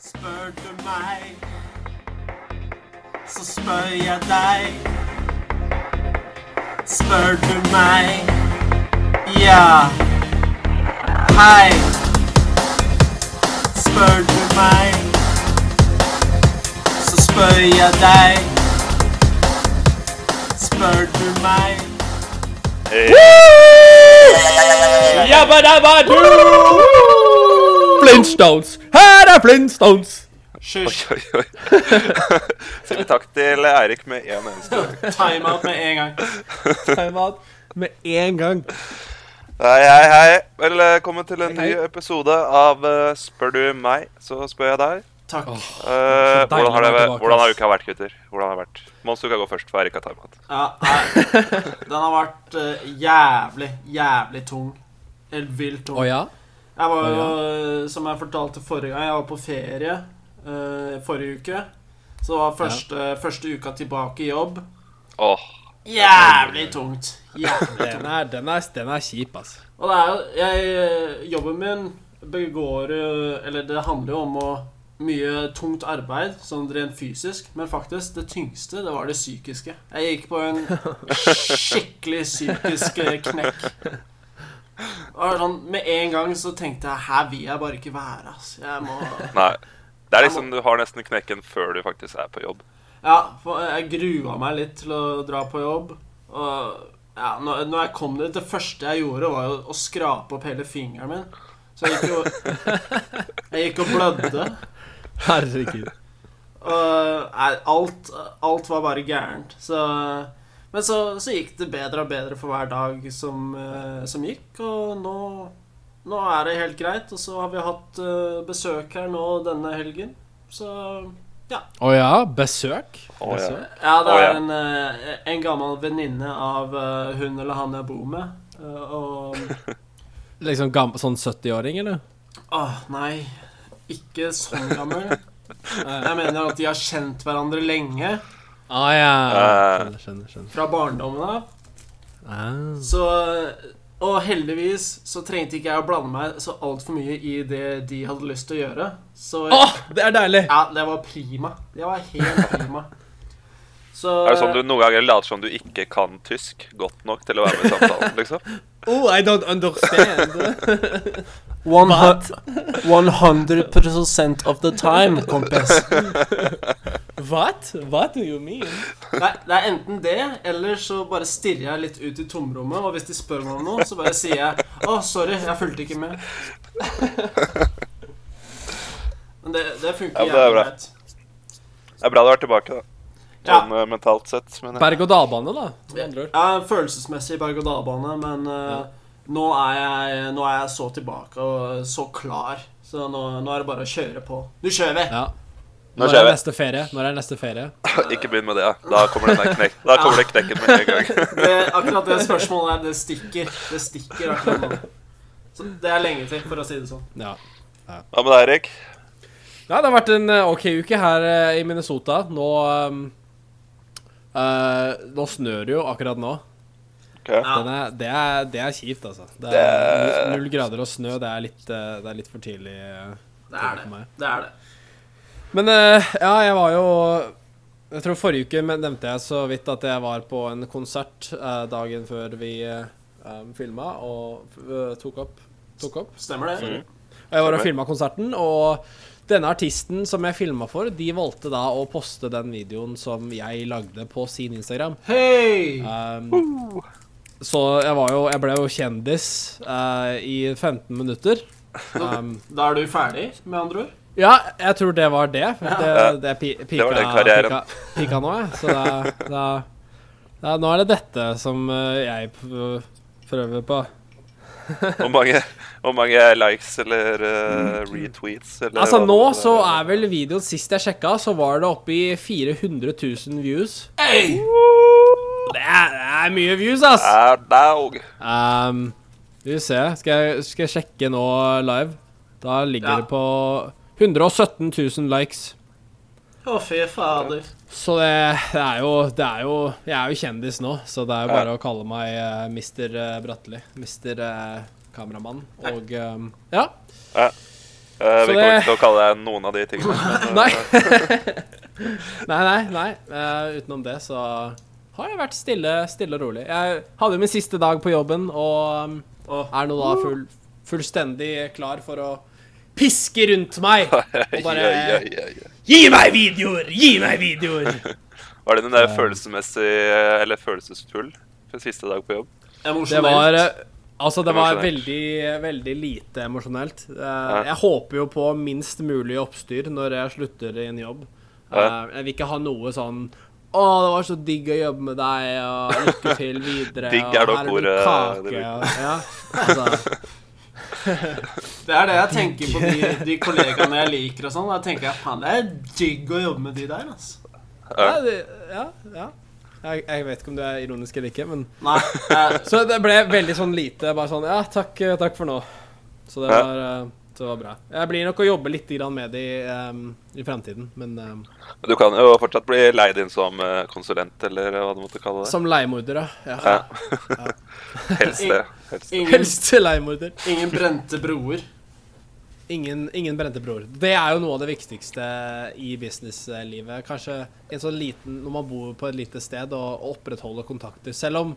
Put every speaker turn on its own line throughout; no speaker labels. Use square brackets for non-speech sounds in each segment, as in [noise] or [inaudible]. Spør du meg, så spør jeg deg. Spør du meg, ja. Hei. Spør du meg, så spør jeg deg. Spør du meg.
Jabba dabba doo! Flintstones! Her er Flintstones!
Hysj.
Oi, oi. Si takk til Eirik med én eneste gang.
Timeout med en gang.
Med en gang.
Hei, hei, hei. eh, Velkommen til en ny
Hei, hei.
episode av eh, Spør du meg, så spør jeg deg.
Takk.
Eh,
Så deilig
hvordan, har
å være
det,
tilbake,
hvordan har
ass.
uka vært, gutter? Hvordan har det vært? Mons uka går først, for Eirik har timeout.
Ja, nei. Den har vært eh, jævlig, jævlig tung. Helt vilt tung.
Å ja?
Jeg var
Å,
jo, eh, som jeg fortalte forrige gang, jeg var på ferie eh, forrige uke. Så det var første, første uka tilbake i jobb.
Åh,
Jævlig tungt. Jævlig
Den
tungt.
er, den er, den er kjip, ass.
Og det er jo jeg, eh, Jobben min begår eh, Eller det handler jo om å mye tungt arbeid, sånn rent fysisk. Men faktisk, det tyngste, det var det psykiske. Jeg gikk på en skikkelig psykisk eh, knekk. Det var sånn, med en gang så tenkte jeg her vil jeg bare ikke være. ass. Jeg må
nei. Det er liksom du har nesten knekken før du faktisk er på jobb.
Ja, for jeg grua meg litt til å dra på jobb. Og ja, når, når jeg kom dit, det første jeg gjorde, var jo å skrape opp hele fingeren min. Så jeg gikk jo Jeg gikk og blødde.
Herregud.
Og nei, alt, alt var bare gærent. Så Men så, så gikk det bedre og bedre for hver dag som, eh, som gikk, og nå nå er det helt greit, og så har vi hatt eh, besøk her nå denne helgen. Så
Å ja? Besøk?
Å, ja.
Besøk?
Ja, det
Å,
er
ja.
en, eh, en gammel venninne av eh, hun eller han jeg bor med. Eh, og
Liksom gam sånn 70-åring, eller?
Åh, ah, nei. Ikke sånn gammel. Eh, Jeg mener at de har kjent hverandre lenge,
Å ja.
Eh.
Skjønner, skjønner. skjønner.
fra barndommen av.
Ah.
Så Og heldigvis så trengte ikke jeg å blande meg så altfor mye i det de hadde lyst til å gjøre. Så
Åh, det er deilig!
ja, det var prima. Det var helt prima. Så eh,
Er det sånn du noen ganger later som du ikke kan tysk godt nok til å være med i samtalen,
[laughs]
liksom?
Oh, I don't understand.
[laughs] 100 of the time, kompis.
What? What do you mean?
Det er, det er enten det, eller så bare stirrer jeg litt ut i tomrommet, og hvis de spør meg om noe, så bare sier jeg 'Å, sorry, jeg fulgte ikke med'. Men det, det funker
Ja, men det er
jævlig
bra.
greit.
Det er bra du er tilbake, da.
Ja.
Sånn eh, mentalt sett. Men jeg,
Berg-og-dal-bane, da. Med andre ord.
Jeg er følelsesmessig berg-og-dal-bane, men eh, nå, er jeg, nå er jeg så tilbake og så klar. Så nå, nå er det bare å kjøre på. Nå kjører vi!
Ja.
Nå
Når
kjører
er
vi.
neste ferie? Når er neste ferie?
ikke begynn med det, ja. Da kommer, den der knek da kommer det knekken med en gang.
[laughs] Det, akkurat det spørsmålet her, det stikker. Det stikker akkurat nå. Så det er lenge til, for å si det sånn.
Ja.
Hva med deg, Eirik?
Ja, det har vært en eh, OK uke her eh, i Minnesota. Nå ehm, eh, Nå snør det jo akkurat nå.
Ok.
Ja.
Den er, det, er, det er kjipt, altså. Det er
Det-
null- null grader og snø. Det er litt, eh, det er litt for tidlig. eh.
Det er det. Det er det.
Men eh, ja, jeg var jo Jeg tror forrige uke men- nevnte jeg så vidt at jeg var på en konsert eh, dagen før vi uh, filma og eh, tok opp. Tok opp.
Stemmer det?
Og Jeg var og filma konserten, og denne artisten som jeg filma for, de valgte da å poste den videoen som jeg lagde på sin Instagram.
Hei!
Um, Så jeg var jo Jeg ble jo kjendis eh, i 15 minutter. Um,
Da er du ferdig, med andre ord?
ja, jeg tror det var det. Det, det, pi, pika,
var den karrieren.
Pika, pika nå, jeg. Så da, da, da Nå er det dette som eh, jeg p- prøver på.
Hvor mange, hvor mange likes eller eh, retweets eller
Altså
hva
Nå
det
så
er.
er vel videoen Sist jeg sjekka, så var det oppe i 400 000 views.
Hey!
Det er, det er mye views, ass!
Er dog.
Um, skal vi se. Skal jeg, skal jeg sjekke nå live? Da ligger
Ja.
det på 117 000 likes.
Å, fy fader.
Så det, det, er jo, det er jo Jeg er jo kjendis nå, så det er jo bare å kalle meg eh, Mr. eh, Bratteli. Mr. eh, kameramann. Og um, ja.
Ja. Eh, vi
Så
kommer
det-
ikke til å kalle deg noen av de
[laughs]
tingene. men,
Nei.
eh,
nei, nei. nei. Eh, utenom det så har jeg vært stille, stille og rolig. Jeg hadde jo min siste dag på jobben og um,
Og
er nå da full, fullstendig klar for å piske rundt meg. Og bare
eh, [laughs] ja, ja, ja, ja.
Gi meg videoer! Gi meg videoer!
Var det den
Eh.
der følelsesmessig eh, Eller følelsesfull siste dag på jobb?
Det
emosjonelt.
var eh, Altså, det var
Emosjonelt.
veldig, veldig lite emosjonelt. Eh, Jeg håper jo på minst mulig oppstyr når jeg slutter i en jobb.
Ja.
Eh, Jeg vil ikke ha noe sånn å, det var så digg å jobbe med deg, og lykke til videre.
[laughs] Digg
og
er da
her blir
ordet
kake,
du bruker.
og- Ja, altså,
[laughs]
Det er det jeg tenker på de, de kollegaene jeg liker og sånn. Da tenker jeg faen, det er digg å jobbe med de der, altså.
ja, det, ja, ja. Jeg, jeg vet ikke om det er ironisk eller ikke, men
Nei, jeg,
Så det ble veldig sånn lite. Bare sånn Ja, takk, eh, takk for nå. Så det
Ja.
var, eh, så det var bra. Jeg blir nok å jobbe litt grann med det i, em, i fremtiden, men eh, em,
Men Du kan jo fortsatt bli leid inn som eh, konsulent, eller hva du måtte kalle det.
som leiemorder, ja. ja.
Ja. [laughs] [laughs] Helst det. Helst det.
ingen,
[laughs] Helst leiemorder.
ingen brente broer.
Ingen, ingen brente broer. Det er jo noe av det viktigste i businesslivet. Kanskje en sånn liten, når man bor på et lite sted og, og opprettholder kontakter. Selv om,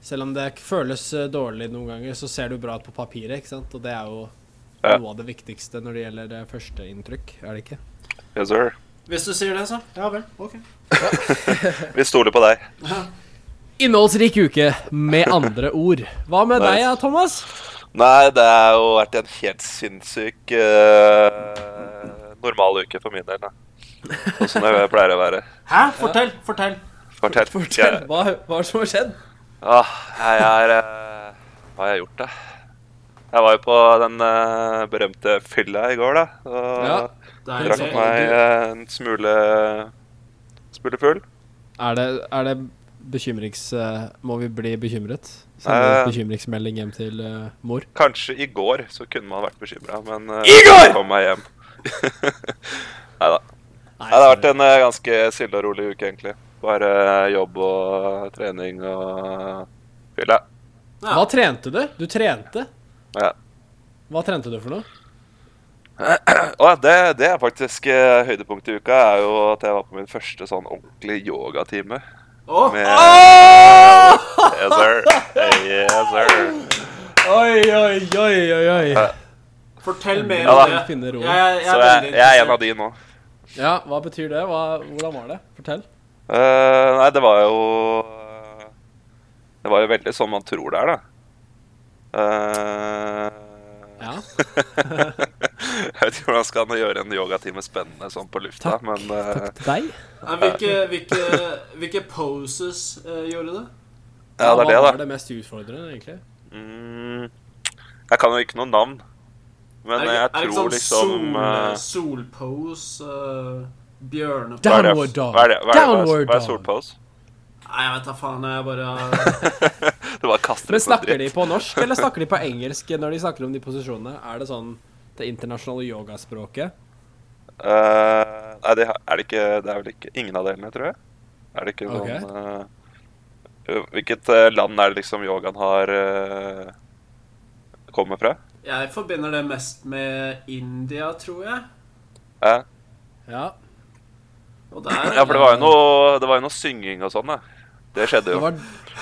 selv om det føles eh, dårlig noen ganger, så ser det jo bra ut på papiret, ikke sant. Og det er jo
Ja.
noe av det viktigste når det gjelder eh, førsteinntrykk, er det ikke?
Yes, sir.
Hvis du sier det, så. Ja vel. Ok.
[laughs] Vi stoler på deg.
Innholdsrik uke, med andre ord. Hva med
Nice.
deg, ja, Thomas?
Nei, det har jo vært en helt sinnssyk eh, normal uke for min del. da. Sånn som det pleier å være.
Hæ? Fortell! Fortell.
Fortell.
Fortell, hva, hva er det som har skjedd?
Ah, jeg er eh, Hva har jeg gjort, da? Jeg var jo på den eh, berømte fylla i går, da. Og
Ja,
drakk
Deilig.
meg eh, en smule eh, Smule full.
Er det, er det bekymrings... eh, må vi bli bekymret?
Eh.
Sende bekymringsmelding hjem til eh, mor?
Kanskje i går så kunne man vært bekymra, men eh,
I går!
jeg kom meg hjem. [laughs] Nei da. Det har vært en eh, ganske stille og rolig uke, egentlig. Bare eh, jobb og trening og fylla.
Hva trente du? Du trente?
Ja.
Hva trente du for noe?
Å, det, det er faktisk eh, høydepunktet i uka. er jo At jeg var på min første sånn ordentlige yogatime.
Å, ah,
Med
Ah!
Yes, sir. Yes, sir.
Oi, oi, oi, oi, oi.
fortell mer
Ja,
om
da.
det.
Finne roen.
Jeg, jeg er
Så jeg,
veldig
jeg er en
interessert.
av de nå.
Ja, hva betyr det? Hva, hvordan var det? Fortell.
Eh, nei, det var jo Det var jo veldig sånn man tror det er, da. Eh,
Ja.
jeg vet ikke hvordan skal man gjøre en yogatime spennende sånn på lufta,
Takk,
men eh,
takk til deg.
Nei, Hvilke, hvilke, hvilke poses eh, gjorde du?
ja, det er det,
Hva
da.
var det mest utfordrende, egentlig?
Mm, jeg kan jo ikke noe navn, men jeg
det ikke sånn
tror liksom eh,
sol, Solpose eh, Bjørnepose
hva er det?
Downward dog.
Hva er det? Hva er, det? Hva er,
Downward
hva er
dog.
solpose?
Nei, jeg vet da faen. Jeg bare
Det bare kaster ut
Men
noe
snakker de
dritt.
på norsk,
[laughs]
eller snakker de på engelsk når de snakker om de posisjonene? Er det sånn det internasjonale yogaspråket?
Eh, nei, det er det ikke Det er vel ikke ingen av delene, tror jeg. Er det ikke
Ok.
noen eh, Hvilket eh, land er det liksom yogaen har eh, kommer fra?
Jeg forbinder det mest med India, tror jeg.
Ja.
Ja.
Og der
Eh? ja, for det var jo noe Det var jo noe synging og sånn, da. Det skjedde
Det
jo.
var,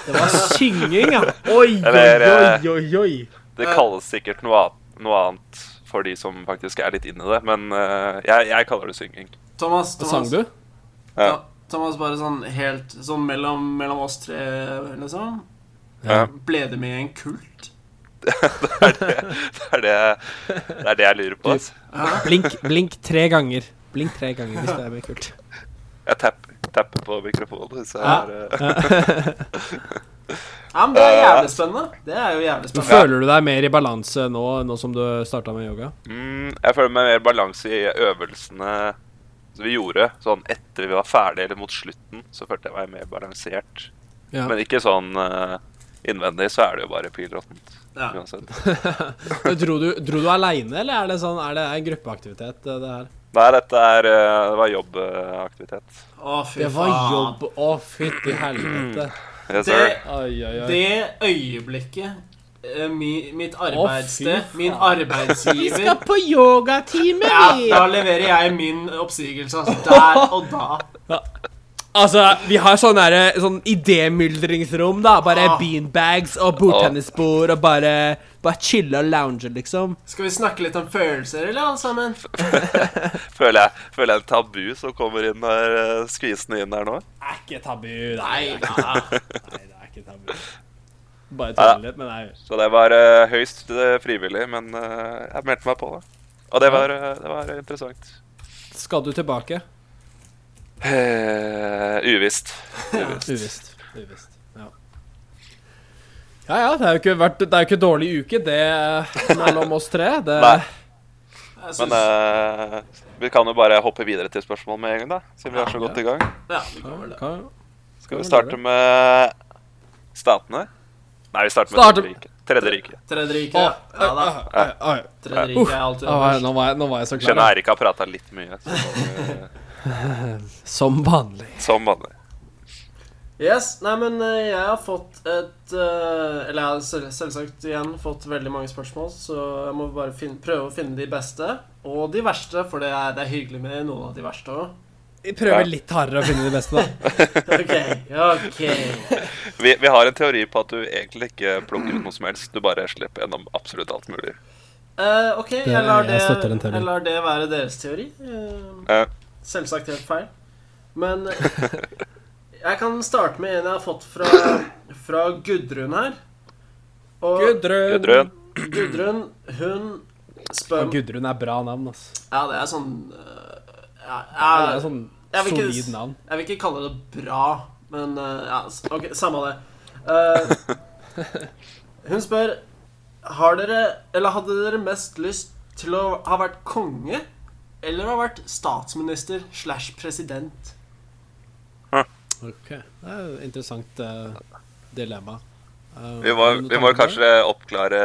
det var synging, ja! Oi,
Eller,
oi,
eh,
oi, oi, oi.
Det kalles sikkert noe annet, noe annet for de som faktisk er litt inni det, men eh, jeg, jeg kaller det synging.
Thomas,
Hva
Thomas,
sang du?
Ja.
Ja, Thomas bare sånn helt sånn mellom, mellom oss tre, liksom.
Ja.
Ble det med i en kult?
[laughs] Det er det, det, er det, det, er det jeg lurer på. Altså.
Blink, blink tre ganger. Blink tre ganger hvis det er mye kult.
Jeg tapper, tapper på mikrofonen. hvis jeg eh,
Ja.
er, eh,
[laughs]
[laughs]
Ja, men det er jævlig spennende. Det er jo jævlig
Men
spennende.
føler du deg mer i balanse nå, nå som du starta med yoga?
Mm, jeg føler meg mer balanse i øvelsene som vi gjorde. Sånn etter vi var ferdige, eller mot slutten, så følte jeg meg mer balansert.
Ja.
Men ikke sånn eh, innvendig, så er det jo bare pilråttent.
Ja.
Uansett.
[laughs] Men Dro du, dro du aleine, eller er det sånn, er det en gruppeaktivitet, eh, det her?
Nei, dette er, eh, det var jobbaktivitet.
Å, fy
Det var
faen.
jobb. Å, fytti helvete.
Det,
Yes, sir.
Oi, oi, oi.
det øyeblikket eh, mi, mitt
fy
arbeidssted,
faen.
min
Vi
arbeidsgiver
skal på yogatime,
ja,
vi!
Da leverer jeg min oppsigelse, altså. Der og da.
Altså, vi har sånn derre sånn idémyldringsrom, da. Bare
Ah.
beanbags og bordtennisbord og bare Bare chille og lounge, liksom.
Skal vi snakke litt om følelser, eller, alle sammen?
Føler jeg, føler jeg en tabu som kommer inn her, eh, skvisende inn her nå.
Er ikke tabu. Nei, det er ikke tabu. Bare
Ja.
tulle litt, men nei.
Så det var eh, høyst eh, frivillig, men eh, jeg meldte meg på, da. Og det var, eh, det var interessant.
Skal du tilbake?
Eh, uvisst.
Uvisst. Uvisst. Ja. ja ja, det er jo ikke, vært, det er jo ikke dårlig uke, det mellom oss tre. Det,
Nei,
Jeg
men
synes-
eh, vi kan jo bare hoppe videre til spørsmål med en gang, da. Siden vi er så godt i gang.
ja, vi
Ja,
kan vel det.
kan-
Skal vi starte med statene? Nei, vi starter med
Starte-
Tredje riket. Tredje riket.
Tredje riket.
Å,
Ja da.
Oi, oi.
Tredje riket er alltid
Nå var
øverst.
jeg- nå var jeg, nå var jeg så klar.
Skjønner Eirik har prata litt mye, så, eh,
[laughs]
Som vanlig.
som vanlig.
Yes, nei, men eh, jeg har fått et eh, Eller jeg har sel- selvsagt igjen fått veldig mange spørsmål, så jeg må bare finne, prøve å finne de beste. Og de verste, for det er, det er hyggelig med noen av de verste
[laughs]
òg.
Vi
Ja.
prøver litt hardere å finne det beste, da.
[laughs]
OK. ok
Vi, vi har en teori på at du egentlig ikke plukker ut noe som helst. Du bare slipper gjennom absolutt alt mulig.
Eh, OK, jeg lar,
jeg
det,
støtter den teorien.
jeg lar det være deres teori. Eh,
Eh, [laughs]
Selvsagt helt feil. Men eh, jeg kan starte med en jeg har fått fra, fra Gudrun her. Og
Gudrun.
Gudrun.
Gudrun, hun spør
Og Gudrun er bra navn, ass.
Ja, det er sånn øh, ja,
Det er
jeg,
sånn
jeg vil ikke-
solid navn.
jeg vil ikke kalle det bra, men øh, ja, s- OK, samme det. Eh, hun spør Har dere, eller hadde dere mest lyst til å ha vært konge eller ha vært statsminister slash president?
Ok, Det er et interessant eh, dilemma. Eh,
Vi må,
har du noen
vi må
tanker der?
kanskje oppklare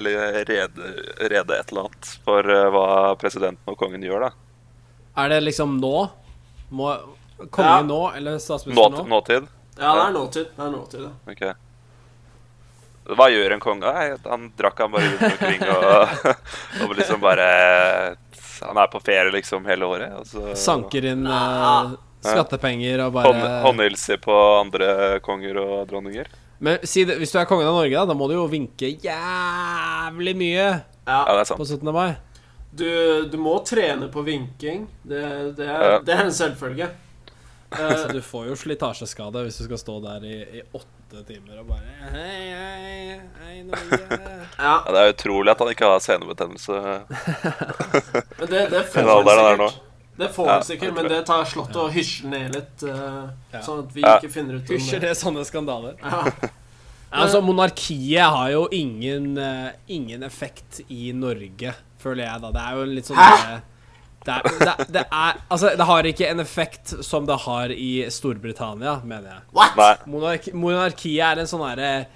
eller rede, rede et eller annet for eh, hva presidenten og kongen gjør, da.
Er det liksom nå? Må Konge
Ja.
nå, eller statsminister
Nåt,
nå?
nåtid?
Ja, det er nåtid. Det er nåtid, ja.
Ok. Hva gjør en konge? Nei, Han drakk han bare rundt omkring og, [laughs] og liksom bare Han er på ferie liksom hele året. Og så
Sanker inn eh,
Ja.
skattepenger og
hånd,
bare
håndhilser på andre konger og dronninger.
Men si det, hvis du er kongen av Norge, da, da må du jo vinke jævlig mye
Ja,
ja.
det er
på
sant.
17. mai.
Du, du må trene på vinking. Det, det, er,
Ja.
det er en selvfølge. Eh,
Så Altså, du får jo slitasjeskade hvis du skal stå der i, i åtte timer og bare Hei, hei, hei, Norge.
ja,
Ja, det er utrolig at han ikke har senebetennelse.
men det, det får
Den
du
alderen der
sikkert. Det får
Ja,
vi sikkert,
det tror
men
jeg.
det tar slått og hysjer ned litt, eh,
Ja.
sånn at vi
Ja.
ikke finner ut om
Hysjer
det.
det sånne skandaler?
Ja.
Altså, monarkiet har jo ingen, eh, ingen effekt i Norge, føler jeg, da. Det er jo en litt sånn
Hæ?
eh, det er, det, er- det er Altså, det har ikke en effekt som det har i Storbritannia, mener jeg.
What?!
Nei.
Monark, monarkiet er en sånn herre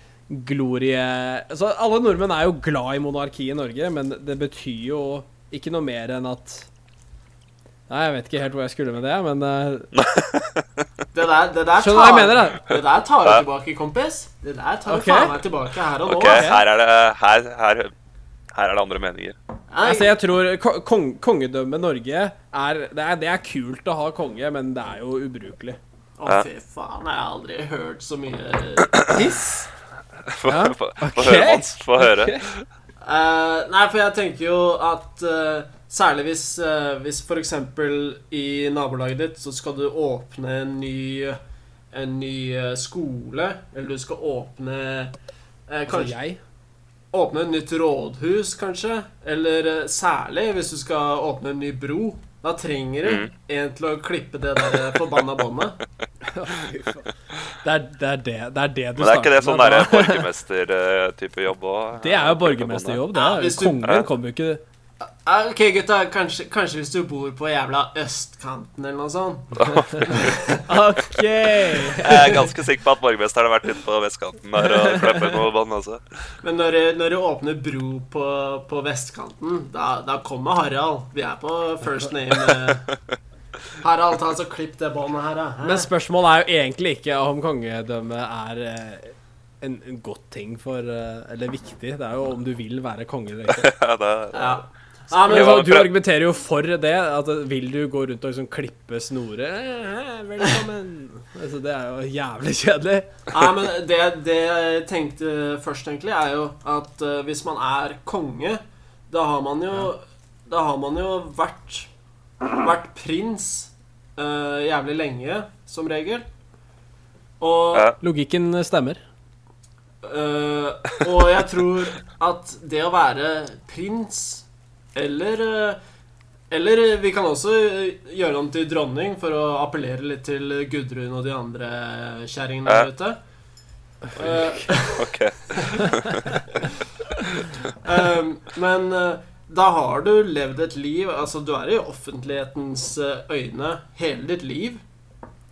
glorie... Altså, alle nordmenn er jo glad i monarkiet i Norge, men det betyr jo ikke noe mer enn at Nei, jeg vet ikke helt hvor jeg skulle med det, men eh,
Det der, det der
Skjønner du hva jeg
tar-
mener, da?
Det der tar du
Ja.
tilbake, kompis. Det der tar du
Ok.
faen meg tilbake her og nå.
Ok, her er det, her, her, her er det andre meninger. [laughs]
Nei,
Altså, jeg tror ko- kong, kongedømmet Norge er det, er det er kult å ha konge, men det er jo ubrukelig.
Å, fy faen, jeg har aldri hørt så mye piss.
Få
Ja,
få- få
ok.
høre, Mons. Få høre.
Eh, nei, for jeg tenker jo at eh, særlig hvis, uh, hvis f.eks. i nabolaget ditt så skal du åpne en ny, en ny eh, skole, eller du skal åpne eh,
Altså,
kanskje,
jeg [laughs]
Åpne et nytt rådhus, kanskje. Eller eh, særlig hvis du skal åpne en ny bro. Da trenger du en til å klippe det der eh, forbanna båndet.
Det er det, er det, det, er det du
Men det er ikke det sånn der
da.
borgermester-type jobb òg?
[laughs] Det er jo borgermesterjobb, det.
Ja,
Er.
hvis du-
Ja.
Kongen kommer jo ikke
Ja, Eh, ok, gutta, kanskje, kanskje hvis du bor på jævla østkanten eller noe sånt.
OK!
Jeg er ganske sikker på at borgermesteren har vært ute på vestkanten der og klippet noe bånd også. [laughs]
Men når, du- når du åpner bro på, på vestkanten, da, da kommer Harald. Vi er på first name. eh. Harald, ta altså klipp det båndet her, da.
Men spørsmålet er jo egentlig ikke om kongedømmet er eh, en, en godt ting for eh, Eller viktig. Det er jo om du vil være konge
[laughs]
eller ikke.
Ja, det er
Ja. Nei, men så,
Men, så,
men
du
prøv-
argumenterer jo for det. At eh, vil du gå rundt og liksom klippe snorer? Eh, eh, Velkommen. Altså, det er jo jævlig kjedelig.
nei, men det, det jeg tenkte først, egentlig, er jo at eh, hvis man er konge, da har man jo Da har man jo vært Vært prins eh, jævlig lenge, som regel. Og
Ja.
Logikken stemmer.
Eh, og jeg tror at det å være prins eller eh, Eller vi kan også eh, gjøre om til dronning for å appellere litt til Gudrun og de andre kjerringene der ute. Eh,
ok.
eh, men eh, da har du levd et liv Altså, du er i offentlighetens eh, øyne hele ditt liv.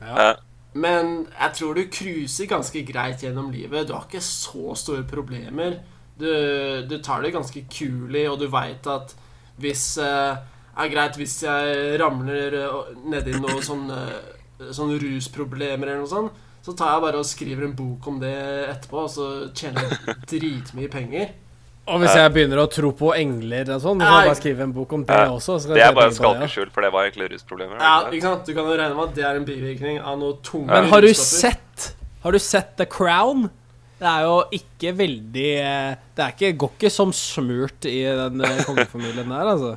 Ja.
Men jeg tror du cruiser ganske greit gjennom livet. Du har ikke så store problemer. Du, du tar det ganske kulig, og du veit at hvis eh, er greit hvis jeg ramler eh, nedi noe sånn eh, sånn rusproblemer eller noe sånt, så tar jeg bare og skriver en bok om det etterpå, og så tjener jeg dritmye penger.
Og hvis jeg begynner å tro på engler og sånn, så kan jeg bare skrive en bok om det
Ja.
også. Så kan
Det
jeg
er bare
tenke på det, ja.
skalkeskjul, for det var egentlig rusproblemer. var
Ja,
det ikke det?
ikke sant? Du kan jo regne med at det er en bivirkning av noe tunge
Men har du
russtoffer.
sett Har du sett The Crown? Det er jo ikke veldig eh, Det er ikke, går ikke som smurt i
[laughs]
den eh, kongefamilien der, altså.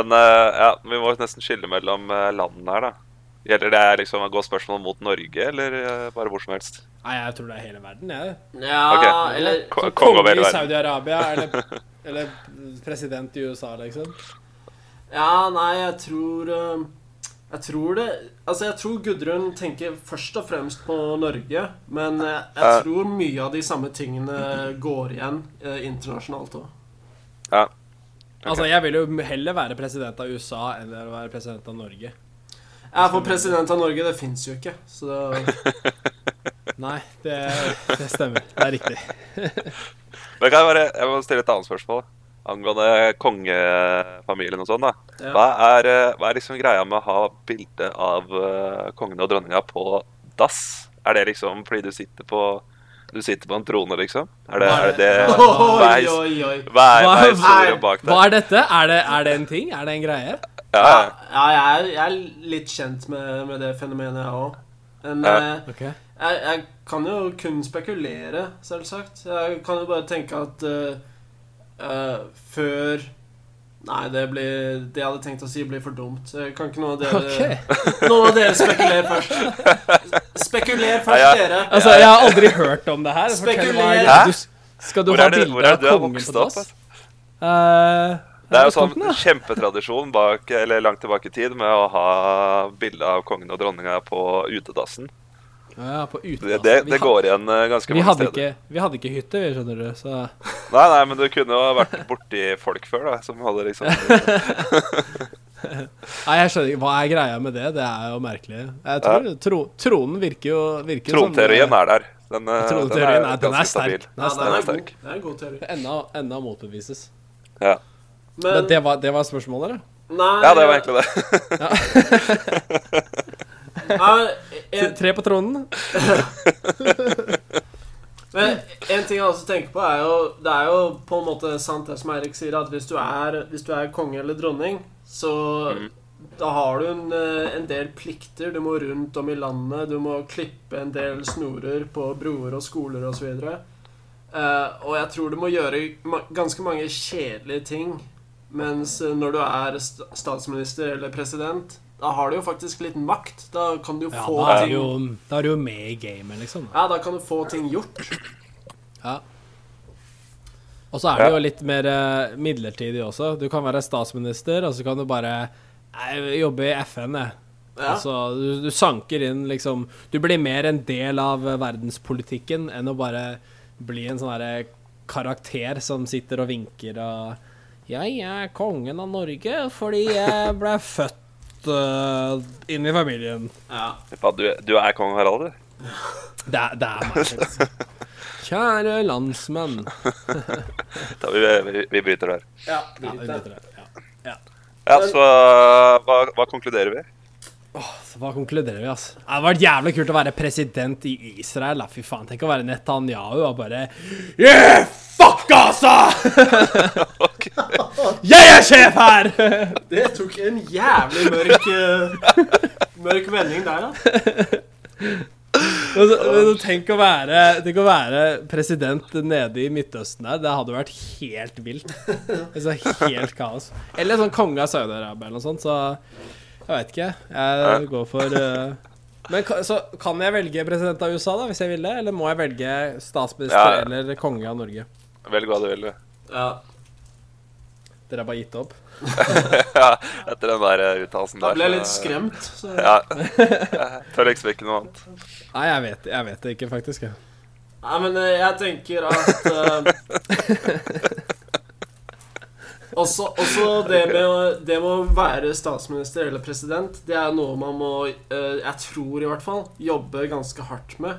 Men eh, ja, vi må nesten skille mellom eh, landene her, da. Gjelder det liksom å gå spørsmål mot Norge, eller eh, bare hvor som helst?
Nei, jeg tror det er hele verden, jeg.
Ja,
Ok.
eller
Ko-
Som
Konge over
konge i
hele verden.
Saudi-Arabia
[laughs]
eller, eller president i USA, liksom.
Ja, nei, jeg tror eh, Jeg tror det Altså, jeg tror Gudrun tenker først og fremst på Norge, men jeg, jeg
Ja.
tror mye av de samme tingene går igjen eh, internasjonalt òg.
Ja.
Altså, jeg vil jo heller være president av USA enn å være president av Norge.
Ja, for president av Norge, det fins jo ikke, så det
Nei, det, det stemmer. Det er riktig.
Men kan jeg bare jeg må stille et annet spørsmål da. angående kongefamilien og sånn. da.
Ja.
Hva, er, eh, hva er liksom greia med å ha bilde av eh, kongen og dronninga på dass? Er det liksom fordi du sitter på du sitter på en trone, liksom? Er [laughs] det er det, det hva
[laughs] Oi,
er,
oi, oi.
hva er, hva
Hva-
er historien bak
Hva
der?
er dette? Er det, er det en ting? Er det en greie?
Ja,
Ja,
ja.
jeg er, jeg er litt kjent med, med det fenomenet, jeg òg. Men
Ja.
eh,
Ok.
jeg, jeg kan jo kun spekulere, selvsagt. Jeg kan jo bare tenke at eh, eh, før Nei, det blir Det jeg hadde tenkt å si, blir for dumt. Jeg Kan ikke noen av dere
Ok.
[laughs] Noen av dere spekulere først? Spekuler først,
Ja, ja.
dere.
Altså, jeg har aldri hørt om det her. Fortell
Spekuler.
meg,
Hæ?
du, skal du
Hvor
ha
er det, hvor er
bilde av
det du har
kongen
vokst
på
opp?
dass?
altså?
Eh,
Det er jo
Stockholm,
sånn kjempetradisjon bak, eller langt tilbake i tid med å ha bilde av kongen og dronninga på utedassen.
da. Ja, på
Det,
utedassen.
det,
Vi
det
ha-
går igjen eh, ganske
vi
mange
hadde,
steder.
ikke, vi hadde ikke hytte, vi, skjønner du, så
Nei, nei, men du kunne jo vært borti folk før, da, som hadde liksom
Nei, jeg skjønner ikke. Hva er greia med det? Det er jo merkelig. Jeg tror, tro, Tronen virker jo virker jo som-
Tronteorien er der. Den, eh,
sånn, Tronteorien er, den er
ganske
sterk. Den
Ja,
er
det er
sterk.
en god,
sterk.
det er en god teori.
Enda, enda motbevises.
Ja.
Men
Men
det var, det var spørsmålet, eller?
nei,
ja, det var egentlig det.
nei,
T-
en,
[laughs] Tre på tronen?
Men en ting jeg også tenker på er jo Det er jo på en måte sant det som Eirik sier At hvis du er, hvis du er konge eller dronning Så da har du en, eh, en del plikter Du må rundt om i landet Du må klippe en del snorer på broer og skoler og så videre Eh, Og jeg tror du må gjøre ma- ganske mange kjedelige ting Mens eh, når du er st statsminister eller president Da har du jo faktisk litt makt Da kan du
Ja,
få
da er du
ting
jo, da er du jo med i gamet, liksom.
Ja, da kan du få ting gjort
Ja. Og så er det jo litt mer eh, midlertidig også. Du kan være statsminister, og så kan du bare «Nei, jobbe i FN, jeg.
Ja.
Altså, du, du sanker inn liksom Du blir mer en del av eh, verdenspolitikken enn å bare bli en sånn herre karakter som sitter og vinker og Jeg er kongen av Norge fordi jeg ble [laughs] født eh, inn i familien.
Ja
[laughs] Faen, Du, du er kong Harald, du.
Det, er- det er meg, faktisk. Kjære landsmenn.
Da, vi, vi, vi bryter der.
Ja,
Ja, vi
drit i det.
bryter det. Ja.
Ja, så hva, hva konkluderer vi? [laughs]
Så Hva konkluderer vi, altså? Det hadde vært jævlig kult å være president i Israel. da, Fy faen, tenk å være Netanyahu og bare Yeah, fuck altså!
Ok.
[laughs] Jeg er sjef her! [laughs]
Det tok en jævlig mørk eh, Mørk vending der, da.
Men så- men så tenk, å være, tenk å være president nede i Midtøsten der. Det hadde vært helt vilt. Altså, helt kaos. Eller sånn konge av Saudi-Arabia eller noe sånt, så jeg veit ikke. Jeg går for eh, Men ka- så kan jeg velge president av USA, da, hvis jeg vil det? Eller må jeg velge statsminister
Ja.
eller konge av Norge?
Velg hva du vil, du.
Ja.
Dere har bare gitt opp?
ja, etter den der eh, uttalelsen
Da
der.
ble jeg
så-
litt skremt. Så.
Ja. [laughs] Jeg tør liksom ikke noe annet.
Nei, jeg vet, jeg vet det ikke, faktisk. jeg.
Nei, men eh, jeg tenker at eh, også, også det med å- det med å være statsminister eller president, det er noe man må eh, Jeg tror i hvert fall jobbe ganske hardt med.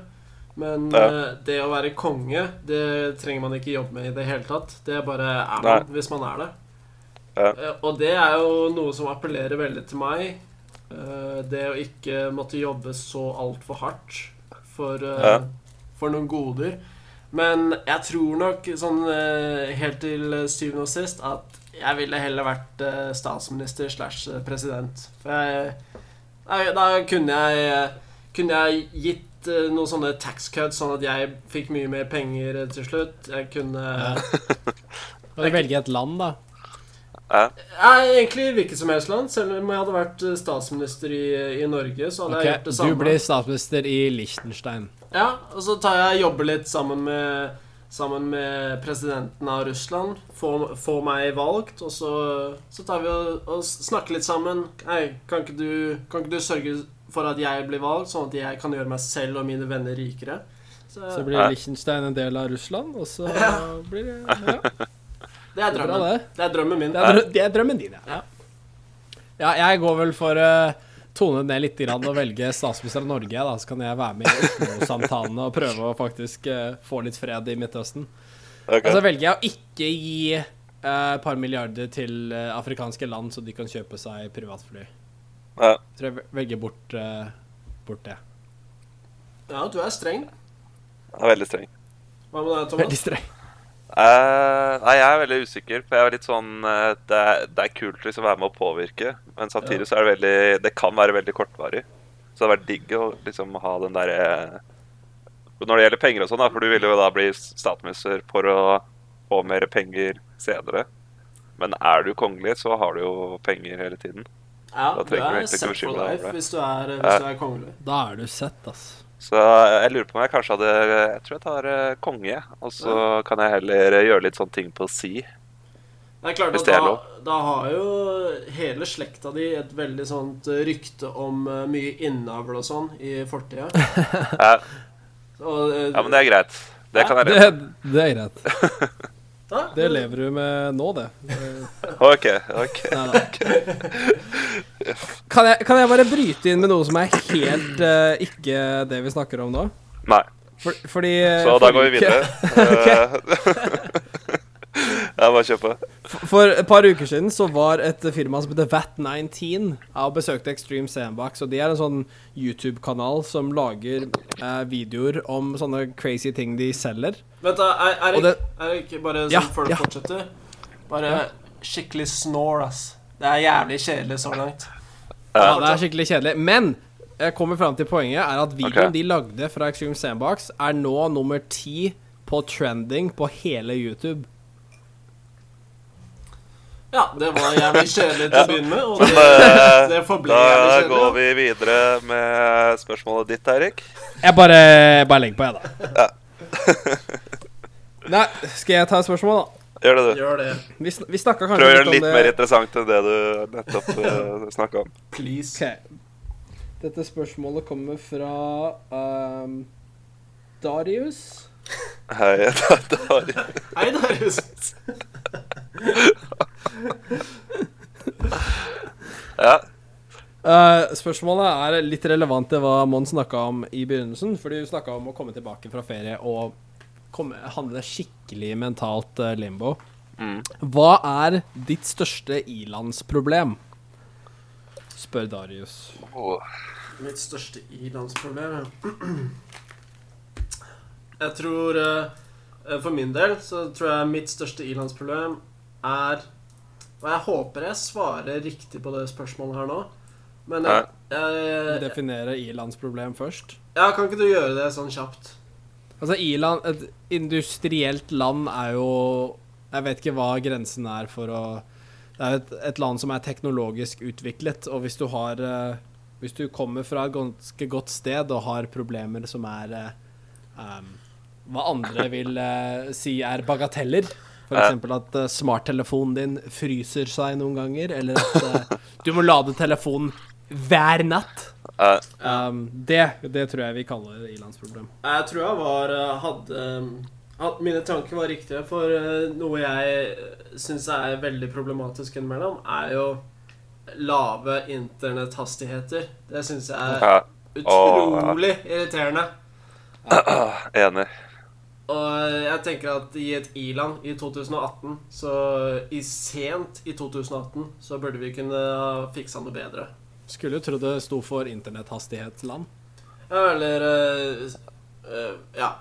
Men
Ja.
eh, det å være konge, det trenger man ikke jobbe med i det hele tatt. Det bare er
Nei.
man hvis man er det.
Ja.
Eh, og det er jo noe som appellerer veldig til meg. Eh, det å ikke måtte jobbe så altfor hardt for, eh,
Ja.
for noen goder. Men jeg tror nok sånn eh, helt til syvende og sist at jeg ville heller vært eh, statsminister slash eh, president. For jeg Nei, Da kunne jeg, kunne jeg gitt eh, noen sånne tax cuts, sånn at jeg fikk mye mer penger eh, til slutt. Jeg kunne
Kan du velge et land, da?
Ja.
Nei, egentlig hvilket som helst land. Selv om jeg hadde vært eh, statsminister i, i Norge, så hadde
Ok,
jeg gjort det
Du
samme.
blir statsminister i Liechtenstein.
Ja, og så tar jeg og jobber litt sammen med, sammen med presidenten av Russland. Få, få meg valgt, og så, så tar vi og, og snakker litt sammen. Hei, kan ikke, du, kan ikke du sørge for at jeg blir valgt, sånn at jeg kan gjøre meg selv og mine venner rikere? Så,
Så blir
Ja.
Liechtenstein en del av Russland, og så blir det
det
ja.
er
det er bra,
drømmen.
det.
Det er drømmen min.
Det er, drø det er drømmen din, ja. Ja, jeg går vel for å tone ned litt grann og velge statsminister av Norge, da, så kan jeg være med i Oslo-samtalene og prøve å faktisk eh, få litt fred i Midtøsten.
Ok.
Og så velger jeg å ikke gi eh, et par milliarder til eh, afrikanske land, så de kan kjøpe seg privatfly.
Ja.
Jeg tror jeg vel- velger bort, eh, bort det.
Ja, du er streng.
Jeg er veldig streng.
Hva med deg,
Veldig
Thomas?
streng.
Eh, nei, jeg er veldig usikker, for jeg er litt sånn eh, det, er, det er kult liksom å være med å påvirke, men samtidig så er det veldig Det kan være veldig kortvarig. Så det hadde vært digg å liksom ha den derre Når det gjelder penger og sånn, da, for du ville jo da bli statsminister for å få mer penger senere. Men er du kongelig, så har du jo penger hele tiden.
Ja,
Da
du
trenger vi
er
egentlig ikke
set for
bekymre deg over
life
det.
hvis du er,
Ja.
hvis du er kongelig.
Da er du sett, altså.
Så jeg lurer på om jeg kanskje hadde Jeg tror jeg tar eh, konge, jeg. og så kan jeg heller gjøre litt sånne ting på si.
Det er klart
Hvis
at
det er
da,
lov.
da har jo hele slekta di et veldig sånt eh, rykte om eh, mye innavl og sånn i
[laughs]
fortida.
Ja.
Og, eh,
Ja, men det er greit. Det kan jeg
Det,
leve
det er greit.
ja,
Det lever du med nå, det.
OK. ok.
Neida. Kan jeg, kan jeg bare bryte inn med noe som er helt eh, ikke det vi snakker om nå?
Nei.
For, fordi
Eh,
eh,
Så da går vi
[laughs]
forrige uke-
videre. Eh, [laughs] ja, bare kjør på.
[laughs] For et par uker siden så var et firma som heter VAT19 Jeg besøkte Extreme Sandbox, og de er en sånn YouTube-kanal som lager eh, videoer om sånne crazy ting de selger.
Vent, da. Er,
Og
Erik,
det-
Erik, bare sånn
Ja,
før du
ja.
fortsetter Bare skikkelig snore, ass. Det er jævlig kjedelig så langt.
Ja, det er skikkelig kjedelig. Men jeg kommer fram til poenget er at videoen
Ok.
de lagde fra Extreme Sandbox, er nå nummer ti på trending på hele YouTube.
Ja, det
[laughs]
var jævlig kjedelig til å begynne med, og
Men
det,
eh,
[laughs] det forble
da
jævlig
går
kjedelig.
vi videre med spørsmålet ditt, Eirik. [laughs]
Jeg bare, bare legger på, jeg, da. Nei, skal jeg ta et spørsmål, da?
Gjør det,
da.
du.
Gjør det.
Vi, sn vi snakka kanskje
Prøv å gjøre det
litt
litt
om
mer
det.
interessant enn det du nettopp uh, snakka om.
Please.
Ok. Dette spørsmålet kommer fra ehm, Darius.
Hei, [laughs] da, da,
Hei, Darius.
ja.
Eh, spørsmålet er litt relevant til hva Mon snakka om i begynnelsen. Fordi hun snakka om å komme tilbake fra ferie og komme, handle skikkelig i mentalt eh, limbo. Hva er ditt største ilandsproblem? Spør Darius.
Åh.
Mitt største ilandsproblem ja. [clears throat] Jeg tror eh, eh, For min del så tror jeg mitt største ilandsproblem er Og jeg håper jeg svarer riktig på det spørsmålet her nå, men jeg, jeg,
Definere ilandsproblem først.
ja, Kan ikke du gjøre det sånn kjapt?
Altså, Irland Et industrielt land er jo Jeg vet ikke hva grensen er for å Det er jo et, et land som er teknologisk utviklet, og hvis du har eh, Hvis du kommer fra et ganske godt sted og har problemer som er eh, em, Hva andre vil eh, si er bagateller,
Ja.
f.eks. at eh, smarttelefonen din fryser seg noen ganger, eller at eh, du må lade telefonen hver natt
Eh,
Em, det, det tror jeg vi kaller ilandsproblem.
Jeg tror jeg var eh, hadde um, at mine tanker var riktige, for eh, noe jeg syns er veldig problematisk innimellom, er jo lave internetthastigheter. Det syns jeg
ja,
er
Åh, ja.
utrolig irriterende.
enig.
Og jeg tenker at i et i-land i 2018, så i sent i 2018, så burde vi kunne ha fiksa noe bedre.
Skulle jo tro det sto for internetthastighetland.
Ja, eller eh, eh, Ja.